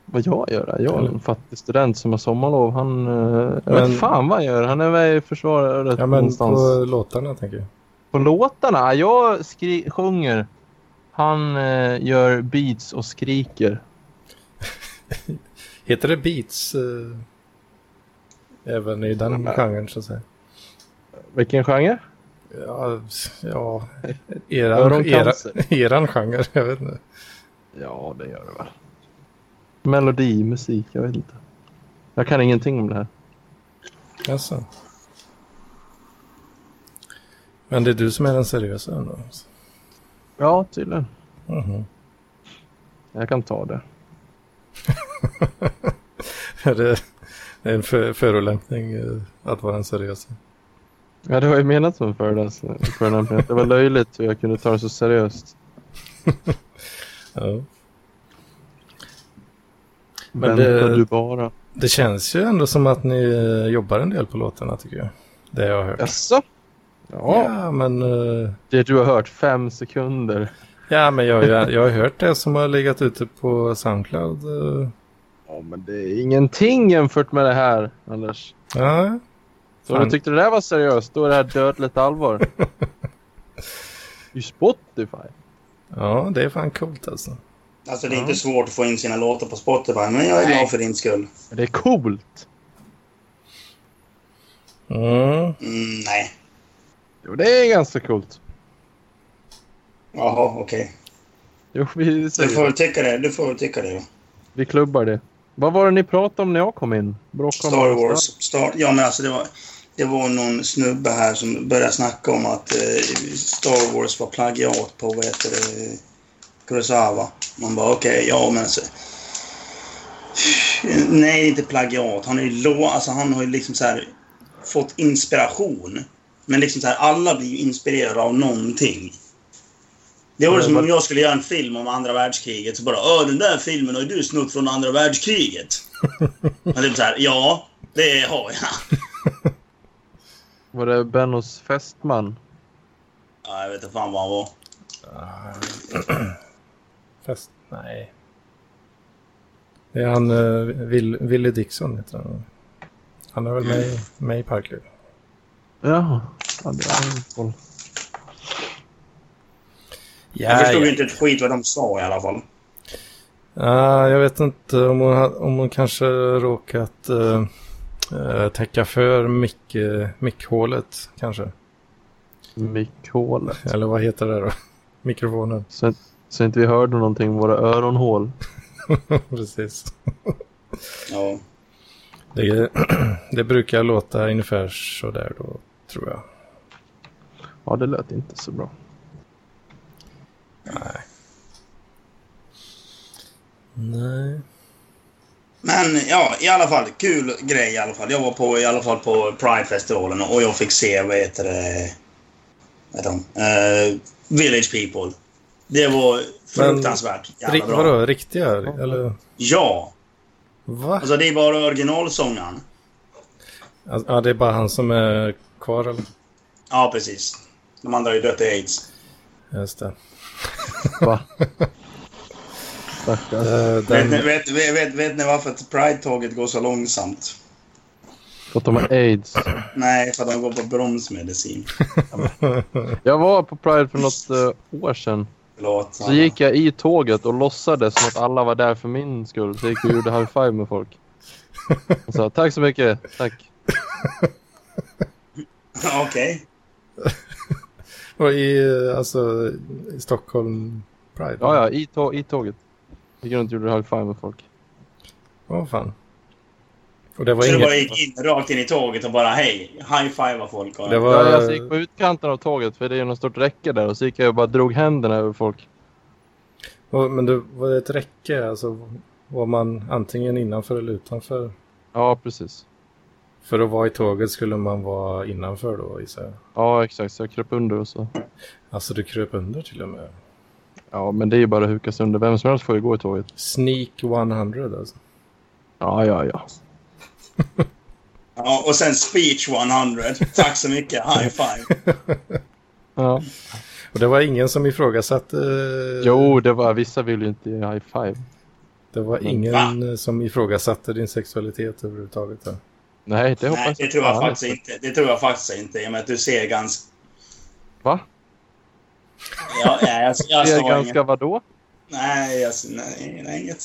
Vad jag gör? Jag är en fattig student som har sommarlov. Han, eh, jag
Men-
vet fan vad han gör. Han är med i försvaret
Ja men
någonstans.
på låtarna tänker jag.
På låtarna? Jag skri- sjunger. Han eh, gör beats och skriker.
Heter det beats? eh, även i den
Mm.
genren så att säga.
Vilken genre?
Ja, s- ja eran, era,
Öroncancer.
eran genre, jag vet inte.
Ja, det gör det väl. Melodi, musik, jag vet inte. Jag kan ingenting om det här.
Jaså. Men det är du som är den seriösa ändå.
Ja, tydligen.
Mhm.
Jag kan ta det.
Är det det är en för, förolämpning eh, att vara den seriösa?
Ja, det var ju menat som en alltså, föreläsning. förolämpning. Det var löjligt hur jag kunde ta det så seriöst.
Ja. Men
Men
det-
du bara.
Det känns ju ändå som att ni eh, jobbar en del på låtarna tycker jag. Det jag har hört.
Jaså? Ja.
Ja, men, eh,
Det du har hört, fem sekunder.
ja, men jag, har ju- jag har hört det som har legat ute på Soundcloud. eh.
Ja, men det är ingenting jämfört med det här, Anders.
Ja,
Så om
Fan.
du tyckte det där var seriöst, då är det här dödligt allvar. I Spotify.
ja, det är fan coolt alltså.
Alltså det är
Ja.
inte svårt att få in sina låtar på Spotify, men jag är glad för din skull.
Men Det är coolt.
Mm.
Mm, nej.
Jo, det är ganska coolt.
Jaha, okej.
Jo, vi
Du
säger
får väl tycka det. Du får väl tycka det då.
Vi klubbar det. Vad var det ni pratade om när jag kom in? Bråk om
Star Wars. Star, ja, men alltså det var, det var någon snubbe här som började snacka om att eh, Star Wars var plagiat på vad heter det, Kurosawa. Man bara okej, ja men så. Nej, det är inte plagiat. Han, är ju lå, alltså, han har ju liksom så här fått inspiration. Men liksom så här, alla blir ju inspirerade av någonting. Det var
Men
som
vad-
om jag skulle göra en film om andra världskriget så bara Åh, den där filmen har ju du snott från andra världskriget. Men typ så här, ja, det har jag.
Var det Bennos fästman?
Ja, jag vet inte fan vad han var.
Fast nej. Det är han, eh, Will, Willie Dixon heter han. Han är väl med, i- med i Parkliv.
Jaha. Ja, det har jag ingen koll.
Ja,
Jag förstod ju inte ett skit vad de sa i alla fall.
Ah, jag vet inte om hon, ha- om hon kanske råkat eh, eh, täcka för mick, eh, mickhålet kanske.
Mickhålet.
Eller vad heter det då? Mikrofonen.
Så, så inte vi hörde någonting om våra öronhål.
Precis.
Ja.
Det, det brukar låta ungefär sådär då, tror jag.
Ja, det lät inte så bra.
Nej.
Men ja, i alla fall. Kul grej i alla fall. Jag var på, i alla fall på Pride-festivalen och jag fick se, vad heter det... Vad heter de? Eh, Village People. Det var fruktansvärt
Rik,
jävla bra.
vadå, riktiga? Eller?
Ja.
Va?
Alltså det är bara originalsångaren.
Alltså, Ja, det är bara han som är kvar eller?
Ja, precis. De andra har ju dött i aids.
Just det.
Va? Stackars.
Eh,
Vet, ni-
den,
vet, vet, vet, vet ni varför att Pride-tåget går så långsamt?
För att de har aids.
Nej, för att de går på bromsmedicin.
Jag var på Pride för något eh, år sedan.
Förlåt.
Så gick jag i tåget och låtsades som att alla var där för min skull. Så jag gick och gjorde high five med folk. Och sa tack så mycket, tack.
Okej.
och i, eh, alltså, i Stockholm Pride?
Ja, ja, i, tå- i tåget. Gick runt och gjorde high five med folk.
Åh fan. Och det var
Så det
inget...
bara gick in rakt in i tåget och bara hej, high-fiva folk. Och,
Det var...
Ja, jag gick på utkanten av tåget för det är ju något stort räcke där och så gick jag och bara drog händerna över folk.
och- Men det var ett räcke, alltså var man antingen innanför eller utanför?
Ja, precis.
För att vara i tåget skulle man vara innanför då gissar jag.
Ja, exakt. Så jag kröp under och så.
Alltså du kröp under till och med.
Ja, men det är ju bara att hukas under. Vem som helst får ju gå i tåget.
Sneak 100 alltså.
Ja, ja, ja.
ja, och sen speech 100. Tack så mycket, high-five.
ja.
Och det var ingen som ifrågasatte... eh,
Jo,
Eh,
det var, vissa vill ju inte ge high five.
Det var ingen eh, som ifrågasatte din sexualitet överhuvudtaget. Då.
Nej, det hoppas
Nej, det tror jag faktiskt inte. Det tror jag faktiskt inte. I och med att du ser ganska...
Va?
Ja, nej, jag, jag,
Det är
jag ganska...
ganska
inget.
vadå?
Nej, jag, nej, nej, inget.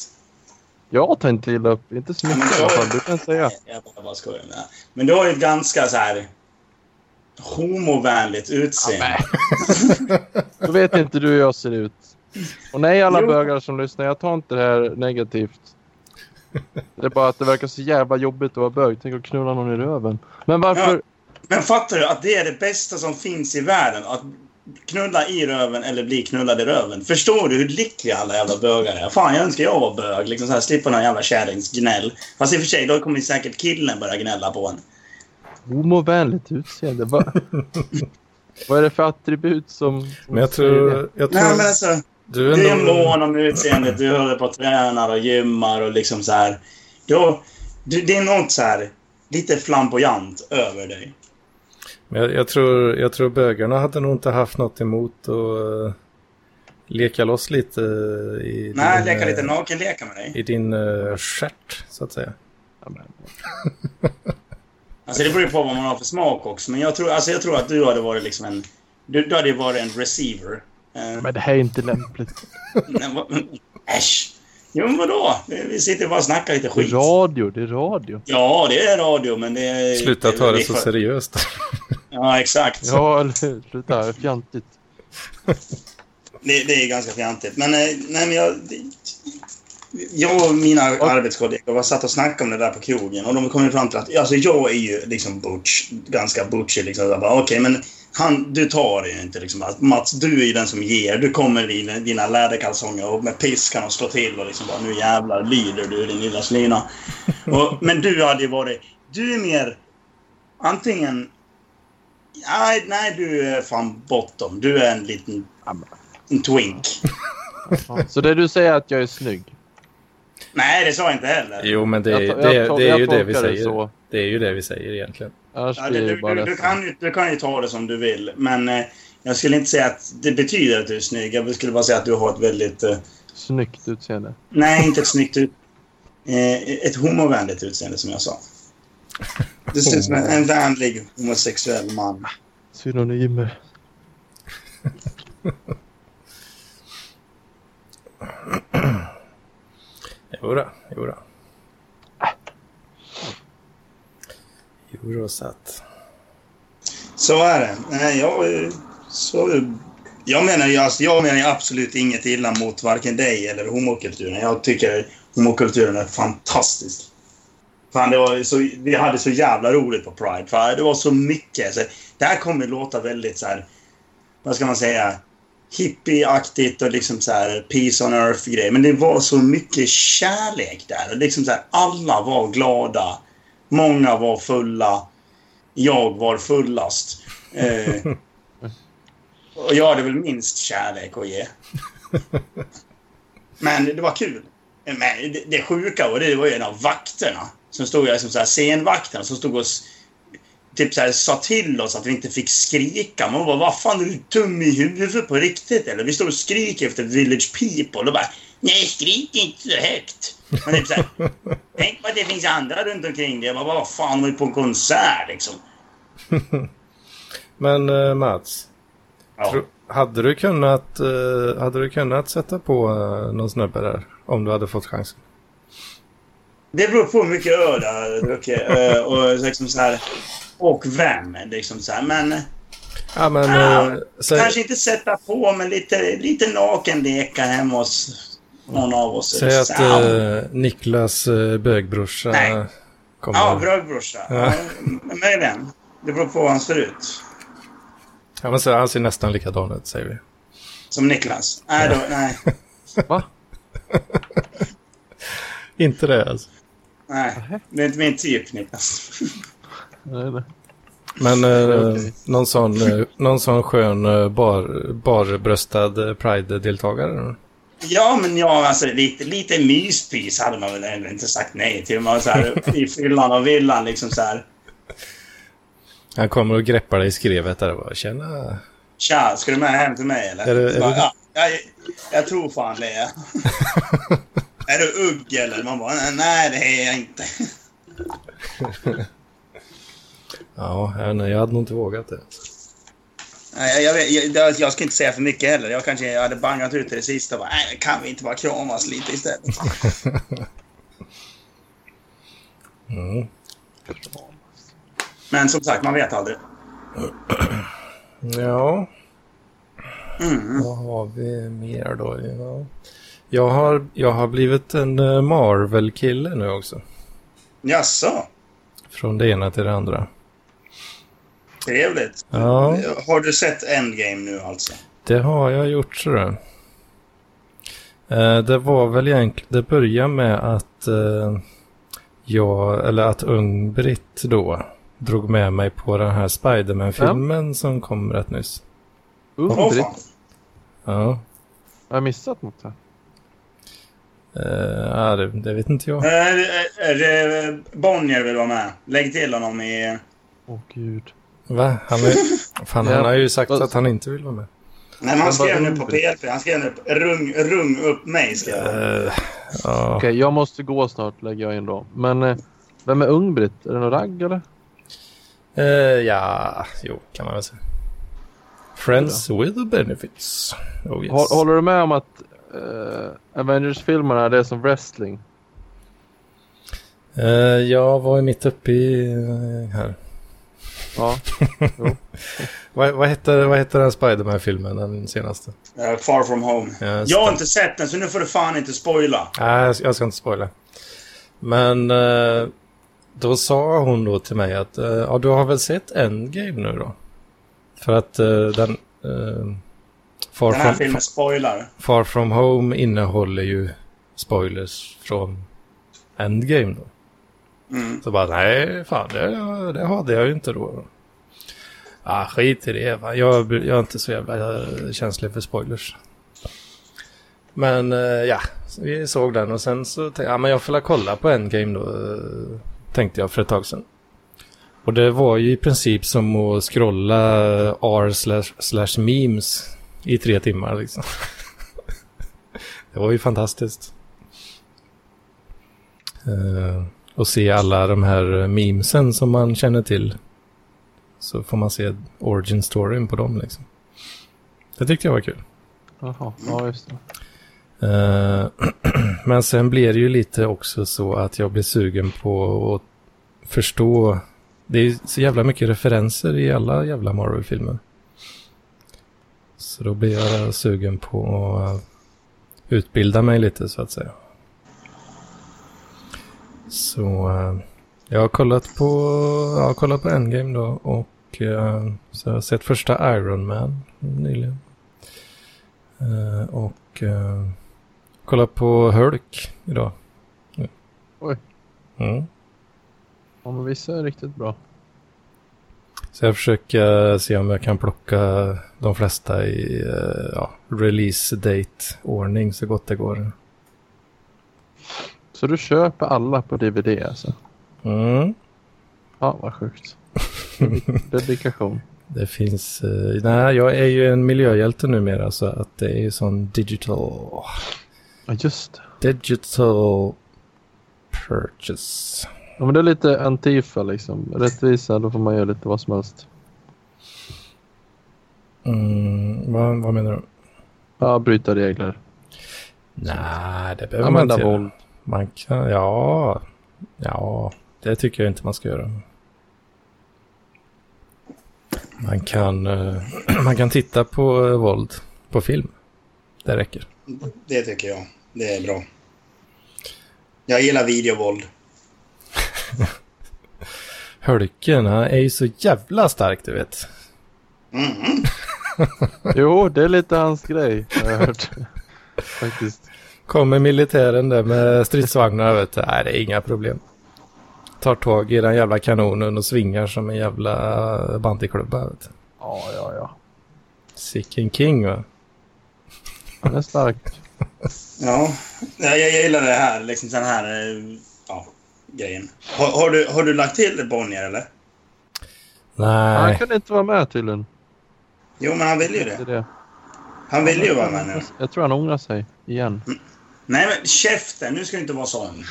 Jag tar inte illa upp. Inte så
Ja, men
mycket i
då-
alla fall, du kan säga.
Nej, Jag bara, bara skojar med det. här. Men du har ju ett ganska så här homovänligt utseende.
Då vet inte du hur jag ser ut. Och nej alla
Jo.
bögar som lyssnar, jag tar inte det här negativt. Det är bara att det verkar så jävla jobbigt att vara bög. Tänk att knulla någon i röven. Men varför?
Men fattar du att det är det bästa som finns i världen? Att knulla i röven eller bli knullad i röven. Förstår du hur lyckliga alla jävla bögar är? Fan, jag önskar jag var bög. Liksom så här, slippa någon jävla kärrings gnäll. Fast i och för sig, då kommer säkert killen börja gnälla på en.
Homovänligt utseende. Va? Vad är det för attribut som... som
Men jag
säger
tror... Jag tror
Nej, men alltså,
du
du
är
är
nog...
mån om utseendet. Du håller på och tränar och gymmar och liksom så här. Då, du, det är något så här lite flamboyant över dig.
Men Jag, jag, tror, jag tror bögarna hade nog inte haft något emot att eh, leka loss lite i
Nej,
din,
leka lite
eh,
nakenleka med dig.
i din uh, stjärt, så att säga.
Ja, men-
Alltså det beror ju på vad man har för smak också. Men jag tror, alltså, jag tror att du hade varit liksom en... Du, du hade ju varit en receiver. Eh,
Men det här är inte lämpligt.
nej, vad- Äsch! Jo, men vadå? Vi sitter bara och snackar lite
Det är
skit.
radio, det är radio.
Ja, det är radio, men det är...
Sluta ta det så
är-
seriöst.
Ja, exakt.
Ja, eller hur? Sluta, det är fjantigt.
Det, det är ganska fjantigt. Men, eh, nej, men jag, det, jag och mina arbetskollegor var satt och snackade om det där på krogen och de kom ju fram till att alltså, jag är ju liksom butch, ganska butchig. Liksom, Jag bara, Okej, men han, du tar det ju inte. Liksom, att Mats, du är ju den som ger. Du kommer i dina- dina läderkalsonger och med piskan och slår till och liksom bara nu jävlar lyder du din lilla slyna. Och, men du hade ju varit... Du är mer antingen... Nej, nej, du är fan bottom. Du är en liten en twink.
Ja, Så det du säger är att jag är snygg?
Nej, det sa jag inte heller.
jo, men det,
Jag
är-
to-
det,
jag to-
är- det är
jag
ju det vi
tolkar det
säger.
så.
Det är ju det vi säger egentligen.
Annars
Ja,
blir
du,
det
du,
ju bara
du, du,
ledsen.
kan ju, du kan ju ta det som du vill, men eh, jag skulle inte säga att det betyder att du är snygg. Jag skulle bara säga att du har ett väldigt... Eh,
Snyggt utseende.
nej, inte ett snyggt ut... Eh, ett homovänligt utseende, som jag sa. Du ser ut som en, en vänlig homosexuell man.
Synonymer.
Jodå, jodå. Jodå, satt.
Så är det. Nej, jag... eh, Så, jag menar ju alltså, jag menar ju absolut inget illa mot varken dig eller homokulturen. Jag tycker homokulturen är fantastisk. Fan, det var ju så, vi hade så jävla roligt på Pride. Fan, det var så mycket. Så, det här kommer låta väldigt så här... Vad ska man säga? hippieaktigt och liksom så här peace on earth grej. Men det var så mycket kärlek där. Och Liksom så här, alla var glada. Många var fulla. Jag var fullast. Eh, och jag hade väl minst kärlek att ge. Men det var kul. Men det, det sjuka var det var ju en av vakterna. Som stod, liksom så här, scenvakterna som stod och s- typ så här, sa till oss att vi inte fick skrika. Man bara, vad fan är du dum i huvudet på riktigt eller? Vi står och skriker efter Village People och bara, nej skrik inte så högt. Men typ så här, Tänk på att det finns andra runt omkring dig. Jag bara, vad fan, de är på en konsert liksom.
Men eh, Mats,
Ja.
tro, hade, du kunnat, eh, hade du kunnat sätta på eh, någon snubbe där? Om du hade fått chansen?
Det beror på hur mycket öl jag har druckit eh, och liksom så här. Och vem, liksom så här. Men
Ja, men...
Ah,
eh, säg,
kanske inte sätta på, men lite, lite nakenleka hemma hos någon av oss.
Säg att eh, Niklas eh, bögbrorsa
Nej.
kommer.
Ja, brödbrorsa.
Ja.
Ja. Möjligen. Det beror på hur han ser ut.
ja, men så, han ser nästan likadan ut säger vi.
Som Niklas. Nej, då, nej.
Va?
Inte det alltså.
nej. Det är inte min typ, Niklas.
Nej, nej.
Men eh,
Okej.
någon, sån, eh, någon sån skön eh, bar, barbröstad eh, Pride-deltagare.
Ja, men ja, alltså lite, lite myspys hade man väl ändå inte sagt nej till. Man var så här, I fyllan och villan liksom så här.
Han kommer och greppar dig i skrevet där och bara tjena.
Tja, ska du med hem till mig eller?
Är det- är
Så bara,
det-
ja, jag, jag tror fan det. Är, är du ugg eller? Man bara, nej det är jag inte.
Ja, jag, vet inte, jag hade nog inte vågat det.
Nej, Jag, jag, vet- jag, jag, jag ska inte säga för mycket heller. Jag kanske jag hade bangat ut det sista. Bara, nej, kan vi inte bara kramas lite istället?
Mm.
Men som sagt, man vet aldrig.
Ja,
Mm.
vad har vi mer då? Ja. Jag, har, jag har blivit en eh, Marvel-kille nu också.
Jaså,
Från det ena till det andra.
trevligt.
Ja,
Har du sett Endgame nu alltså?
det har jag gjort tror jag. Eh, Det var väl egentligen, det började med att eh, jag, eller att Ung-Britt då drog med mig på den här Spiderman-filmen som kom rätt nyss.
Åh
Undrigt.
fan.
Ja,
Har Oh, jag missat något här?
eh, ja, det, det vet inte jag.
Eh, eh, eh, Bonnier vill vara med. Lägg till honom i...
Åh gud.
Va? Han, är, fan, han har ju sagt
Ja.
att han inte vill vara med.
Nej, men han
Men vad
skrev nu
roligt.
på PLP. Han skrev nu på- rung, rung upp mig. Skrev han.
Eh, ja.
Okej, jag måste gå snart lägger jag in då. Men eh, vem är Ung-Britt? Är det någon ragg eller?
Eh, ja, jo, kan man väl säga. Friends with benefits. Oh yes.
Hå- Håller du med om att eh, Avengers-filmerna det är som wrestling?
Eh, jag var ju mitt uppe i eh, här.
Ja.
Vad, vad, hette, vad hette den Spiderman-filmen, den senaste?
Eh, far from home.
Just
Jag har
det.
inte sett den, så nu får du fan inte spoila.
Nej, jag ska- jag ska inte spoila. Men eh, då sa hon då till mig att eh, ja, du har väl sett Endgame nu då? För att eh, den... Eh, Far,
Den här
from,
filmen spoilar.
Far from Home innehåller ju spoilers från Endgame då.
Mm.
Så bara, nej, fan, det, det hade jag ju inte då. Ah, skit i det. va. Jag, jag är inte så jävla eh, känslig för spoilers. Men eh, ja, så vi såg den och sen så tänkte jag, ja, men jag får väl kolla på Endgame då, eh, tänkte jag för ett tag sedan. Och det var ju i princip som att scrolla r slash, slash memes i tre timmar liksom. det var ju fantastiskt. Eh, och se alla de här memesen som man känner till. Så får man se origin storyn på dem liksom. Det tyckte jag var kul.
Jaha, ja just det.
Eh, Men sen blir det ju lite också så att jag blir sugen på att förstå. Det är ju så jävla mycket referenser i alla jävla Marvel-filmer. Så då blir jag sugen på att utbilda mig lite så att säga. Så eh, jag har kollat på, jag har kollat på Endgame då och eh, så jag har sett första Iron Man nyligen. Eh, Och eh, kollat på Hulk idag. Ja.
Oj.
Mm.
Ja, men vissa är riktigt bra.
Så jag försöker eh, se om jag kan plocka de flesta i eh, ja, release date-ordning så gott det går.
Så du köper alla på DVD alltså?
Mm.
Ja, vad sjukt. Dedikation.
Det finns... Eh, nej, jag är ju en miljöhjälte numera så att det är ju sån digital...
Ja, just det.
Digital purchase.
Ja, men det är lite Antifa liksom. Rättvisa, då får man göra lite vad som helst.
Mm, vad, vad menar du?
Ja, bryta regler.
Nej, det behöver man
Använda
inte göra.
våld.
Man kan... Ja. Ja. Det tycker jag inte man ska göra. Man kan, eh, man kan titta på eh, våld på film. Det räcker.
Det tycker jag. Det är bra. Jag gillar videovåld.
Hölken, han är ju så jävla stark du vet.
Mm.
Jo, det är lite hans grej har jag hört. Faktiskt.
Kommer militären där med stridsvagnar vet du. Nej, det är inga problem. Tar tag i den jävla kanonen och svingar som en jävla eh, bandyklubba. Vet du.
Ja, ja, ja.
Sicken king va?
Han är stark.
Ja, jag, jag gillar det här. Liksom den här eh, ja, grejen. Har, har, du, har du lagt till Bonnier eller?
Han
Nej,
kunde inte vara med tydligen.
Jo, men han vill ju
Det är
det.
det.
Han vill ju vara med nu.
Jag tror han ångrar sig igen.
Nej, men käften! Nu ska du inte vara sån.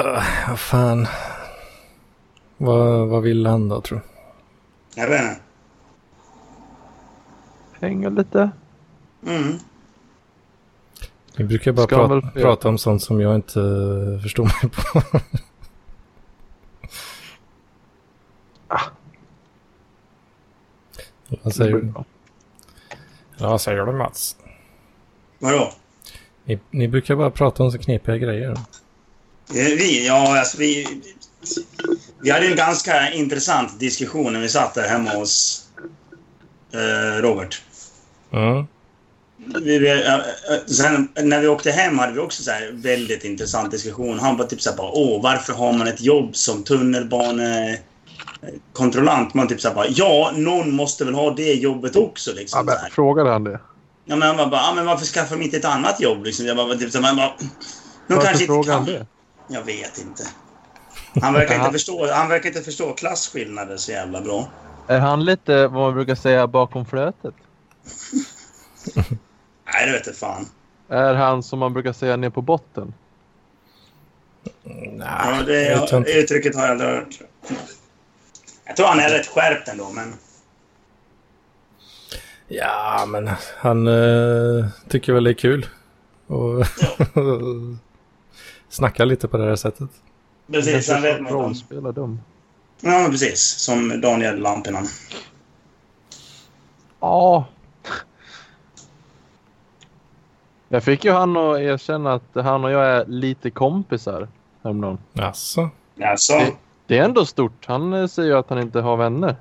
Eh, vad fan. Vad, vad vill han då tror du?
Jag vet inte.
Hänger lite.
Mm.
Vi brukar bara
Ska han
prata,
väl få-
prata om sånt som jag inte eh, förstår mig på. Ah. Vad säger
Det
du?
blir bra.
Ja, vad säger du Mats?
Vadå?
Ni, ni brukar bara prata om så knepiga grejer.
Eh, Vi, ja, alltså vi... Vi hade en ganska intressant diskussion när vi satt där hemma hos eh, Robert.
Mm.
Vi, vi, eh, eh, sen när vi åkte hem hade vi också så här väldigt intressant diskussion. Han bara typ så här bara, åh, varför har man ett jobb som tunnelbanekontrollant? Man typ så här bara, ja, någon måste väl ha det jobbet också liksom.
Ja,
så här.
men, frågade han det?
Ja, men han bara, bara, ja, men varför skaffar de inte ett annat jobb? Liksom. Jag bara, typ, så, man bara, de
Varför
kanske inte
frågade
kan.
han det?
Jag vet inte. Han verkar
Ja.
inte, förstå, han verkar inte förstå klasskillnader så jävla bra.
Är han lite vad man brukar säga bakom flötet?
Nej, det vet jag fan.
Är han som man brukar säga ner på botten?
Ja,
Nej,
det,
jag vet inte.
uttrycket har jag aldrig hört. Jag tror han är rätt skärpt ändå, men...
ja, men han eh, tycker väl det är kul. Och snacka lite på det här sättet.
Precis, sen vet man inte.
Rollspelar dum.
Ja, men precis. Som Daniel Lampinen.
Ja. Jag fick ju han att erkänna att han och jag är lite kompisar. Häromdagen.
Alltså,
Alltså,
Det är ändå stort. Han eh, säger ju att han inte har vänner.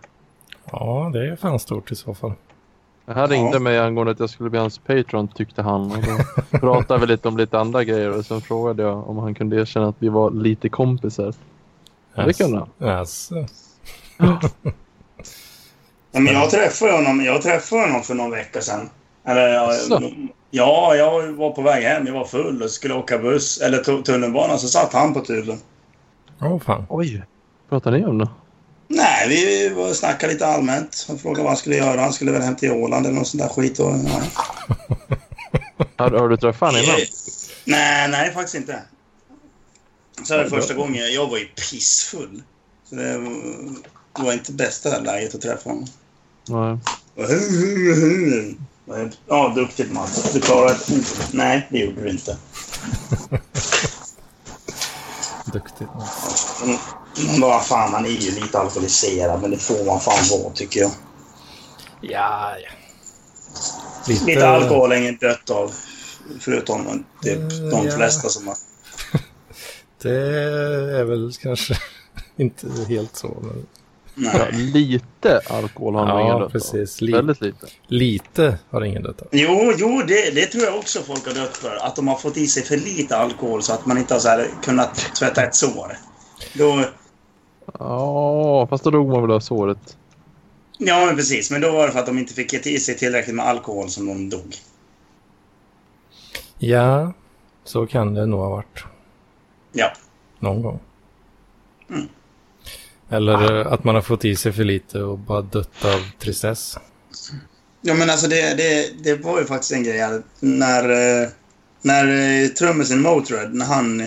ja, det är fan stort i så fall.
Han
Ja.
ringde mig angående att jag skulle bli hans Patreon tyckte han. Och då pratade vi lite om lite andra grejer och sen frågade jag om han kunde erkänna att vi var lite kompisar. Det kan han.
Alltså.
ja, men jag träffade honom, jag träffade honom för någon vecka sedan. Eller, ja,
Asså?
ja, jag var på väg hem. Jag var full och skulle åka buss, eller tu- tunnelbana, så satt han på turen.
Åh oh, fan.
Oj! Pratar ni om det?
Nej, vi var- snackade lite allmänt. Han frågade vad han skulle göra. Han skulle väl hem till Åland eller något sånt där skit. Och, ja.
Har, har du träffat honom innan?
Eh, Nej, nej, faktiskt inte. Så är det första gången. Jag var ju pissfull. Så det var- var inte bästa läget att träffa honom.
Nej.
Ja, duktigt Mats. Du klarade det. Nej, det gjorde du inte.
Duktigt.
Mm, Men vad fan, man är ju lite alkoholiserad, men det får man fan vara tycker jag.
Ja, ja. Eh.
Lite alkohol är ingen dött av. Förutom typ
Eh,
de
ja.
flesta som har
Det är väl kanske inte helt så. Men
Ja,
Nej.
lite alkohol har han
Ja,
ingen dött av.
precis. Lite.
Väldigt lite.
lite har ingen dött av.
Jo, jo det, det tror jag också folk har dött för. Att de har fått i sig för lite alkohol så att man inte har så här kunnat tvätta ett sår. Då,
Ja, fast då dog man väl av såret.
ja, men precis. Men då var det för att de inte fick i sig tillräckligt med alkohol som de dog.
Ja, så kan det nog ha varit.
Ja.
Någon gång.
Mm.
Eller
Ah.
eh, att man har fått i sig för lite och bara dött av tristess.
Ja, men alltså det, det, det var ju faktiskt en grej att när, eh, när eh, trummisen Motörhead, när han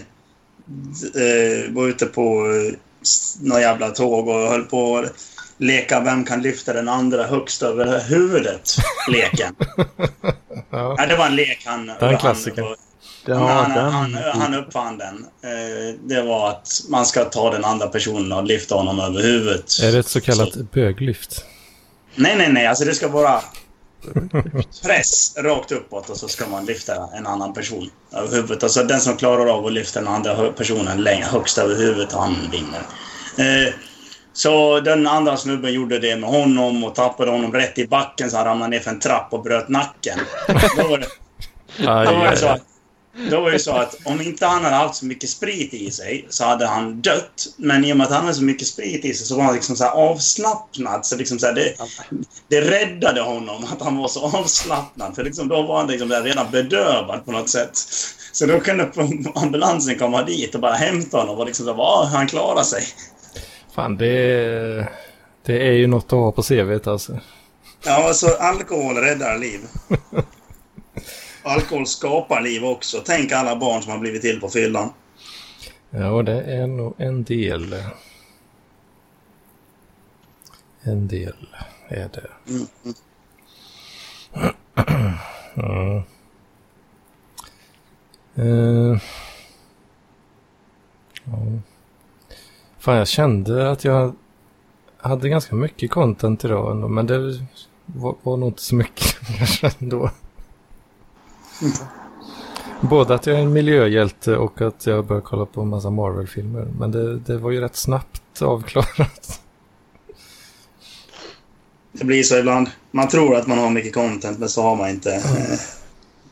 eh, var ute på eh, s- någon jävla tåg och höll på att leka vem kan lyfta den andra högst över huvudet, leken.
Ja.
Ja, det var en lek han... Det
är en klassiker.
Det
Han, han,
den-
han, han uppfann den. Eh, Det var att man ska ta den andra personen och lyfta honom över huvudet.
Är det ett så kallat böglyft?
Nej, nej, nej. Alltså det ska vara... press rakt uppåt och så ska man lyfta en annan person över huvudet. Alltså den som klarar av att lyfta den andra hö- personen längre, högst över huvudet, han vinner. Eh, så den andra snubben gjorde det med honom och tappade honom rätt i backen så han ramlade ner för en trapp och bröt nacken. Då var det,
Aj,
då var det,
aj,
så,
aj.
att, då var det så att om inte han hade haft så mycket sprit i sig så hade han dött. Men i och med att han hade så mycket sprit i sig så var han liksom så här avslappnad. Så liksom så här, det, det räddade honom att han var så avslappnad. För liksom, då var han liksom där redan bedövad på något sätt. Så då kunde ambulansen komma dit och bara hämta honom och liksom så här, "Ah, han klarar sig.
Fan, det, det är ju något att ha på CVt alltså.
Ja, alltså alkohol räddar liv. Alkohol skapar liv också. Tänk alla barn som har blivit till på fyllan.
Ja, det är nog en del. En del är det. Ja. Eh. Ja. Fan, jag kände att jag hade ganska mycket content idag ändå, men det var, var nog inte så mycket kanske ändå. Både att jag är en miljöhjälte och att jag börjar kolla på en massa Marvel-filmer. Men det, det var ju rätt snabbt avklarat.
Det blir så ibland. Man tror att man har mycket content, men så har man inte eh,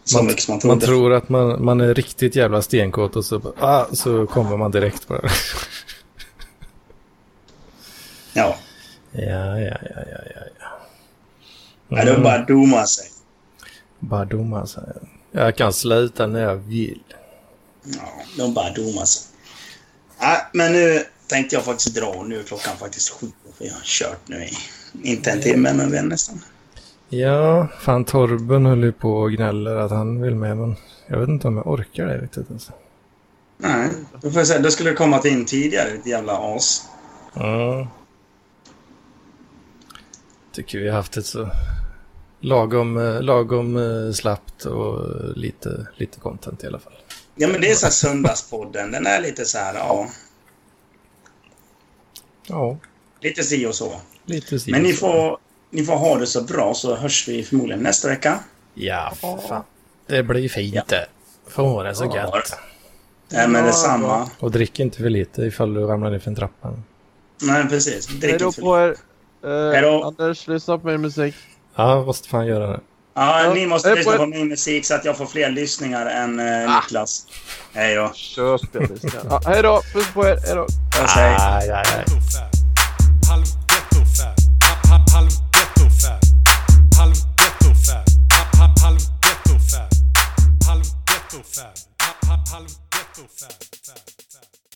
så
Man-
mycket som man trodde.
Man tror att man, man är riktigt jävla stenkåt och så, bara, ah, så kommer man direkt på det.
Ja.
Ja, ja, ja, ja, ja. ja.
Nej, det är bara att doma sig.
bara domar sig. alltså. Jag kan sluta när jag vill.
Ja, de bara domar sig. Nej, men nu tänkte jag faktiskt dra. Nu är klockan faktiskt sju. Vi har kört nu i, inte en timme, men vi är nästan.
Ja, fan Torben höll ju på och gnäller att han vill med, men jag vet inte om jag orkar det riktigt alltså.
Nej, då får jag säga, då skulle du komma in tidigare, ditt jävla as.
Ja. Tycker vi har haft ett så lagom, eh, lagom eh, slappt och eh, lite, lite content i alla fall.
Ja, men det är så här söndagspodden. Den är lite så här, ja.
Ja,
Lite si och så.
lite si
Men
och
ni
så.
får, ni får ha det så bra så hörs vi förmodligen nästa vecka.
Ja, för fan. Det blir fint
Ja.
det. Får ha det så
Ja.
gött.
Nej, men detsamma.
Och drick inte för lite ifall du ramlar ner för en trappa.
Nej, precis. Drick
Hej då
inte för...
på er. Eh,
Hej då.
Anders, lyssna på min musik.
Ja, jag måste fan göra det.
Ja, ni måste
Hej på
lyssna
er.
på min musik så att jag får fler lyssningar än eh, Niklas. Hej då.
Köp det. lyssna. Ja, hej då. Puss på er. Hej då.
Puss, hej.
Aj, aj, aj.
Gettofab. Halv gettofab. Halv- halv- Halv gettofab. Halv gettofab. Halv- halv- Halv gettofab. Halv gettofab. Halv- halv- Halv gettofab.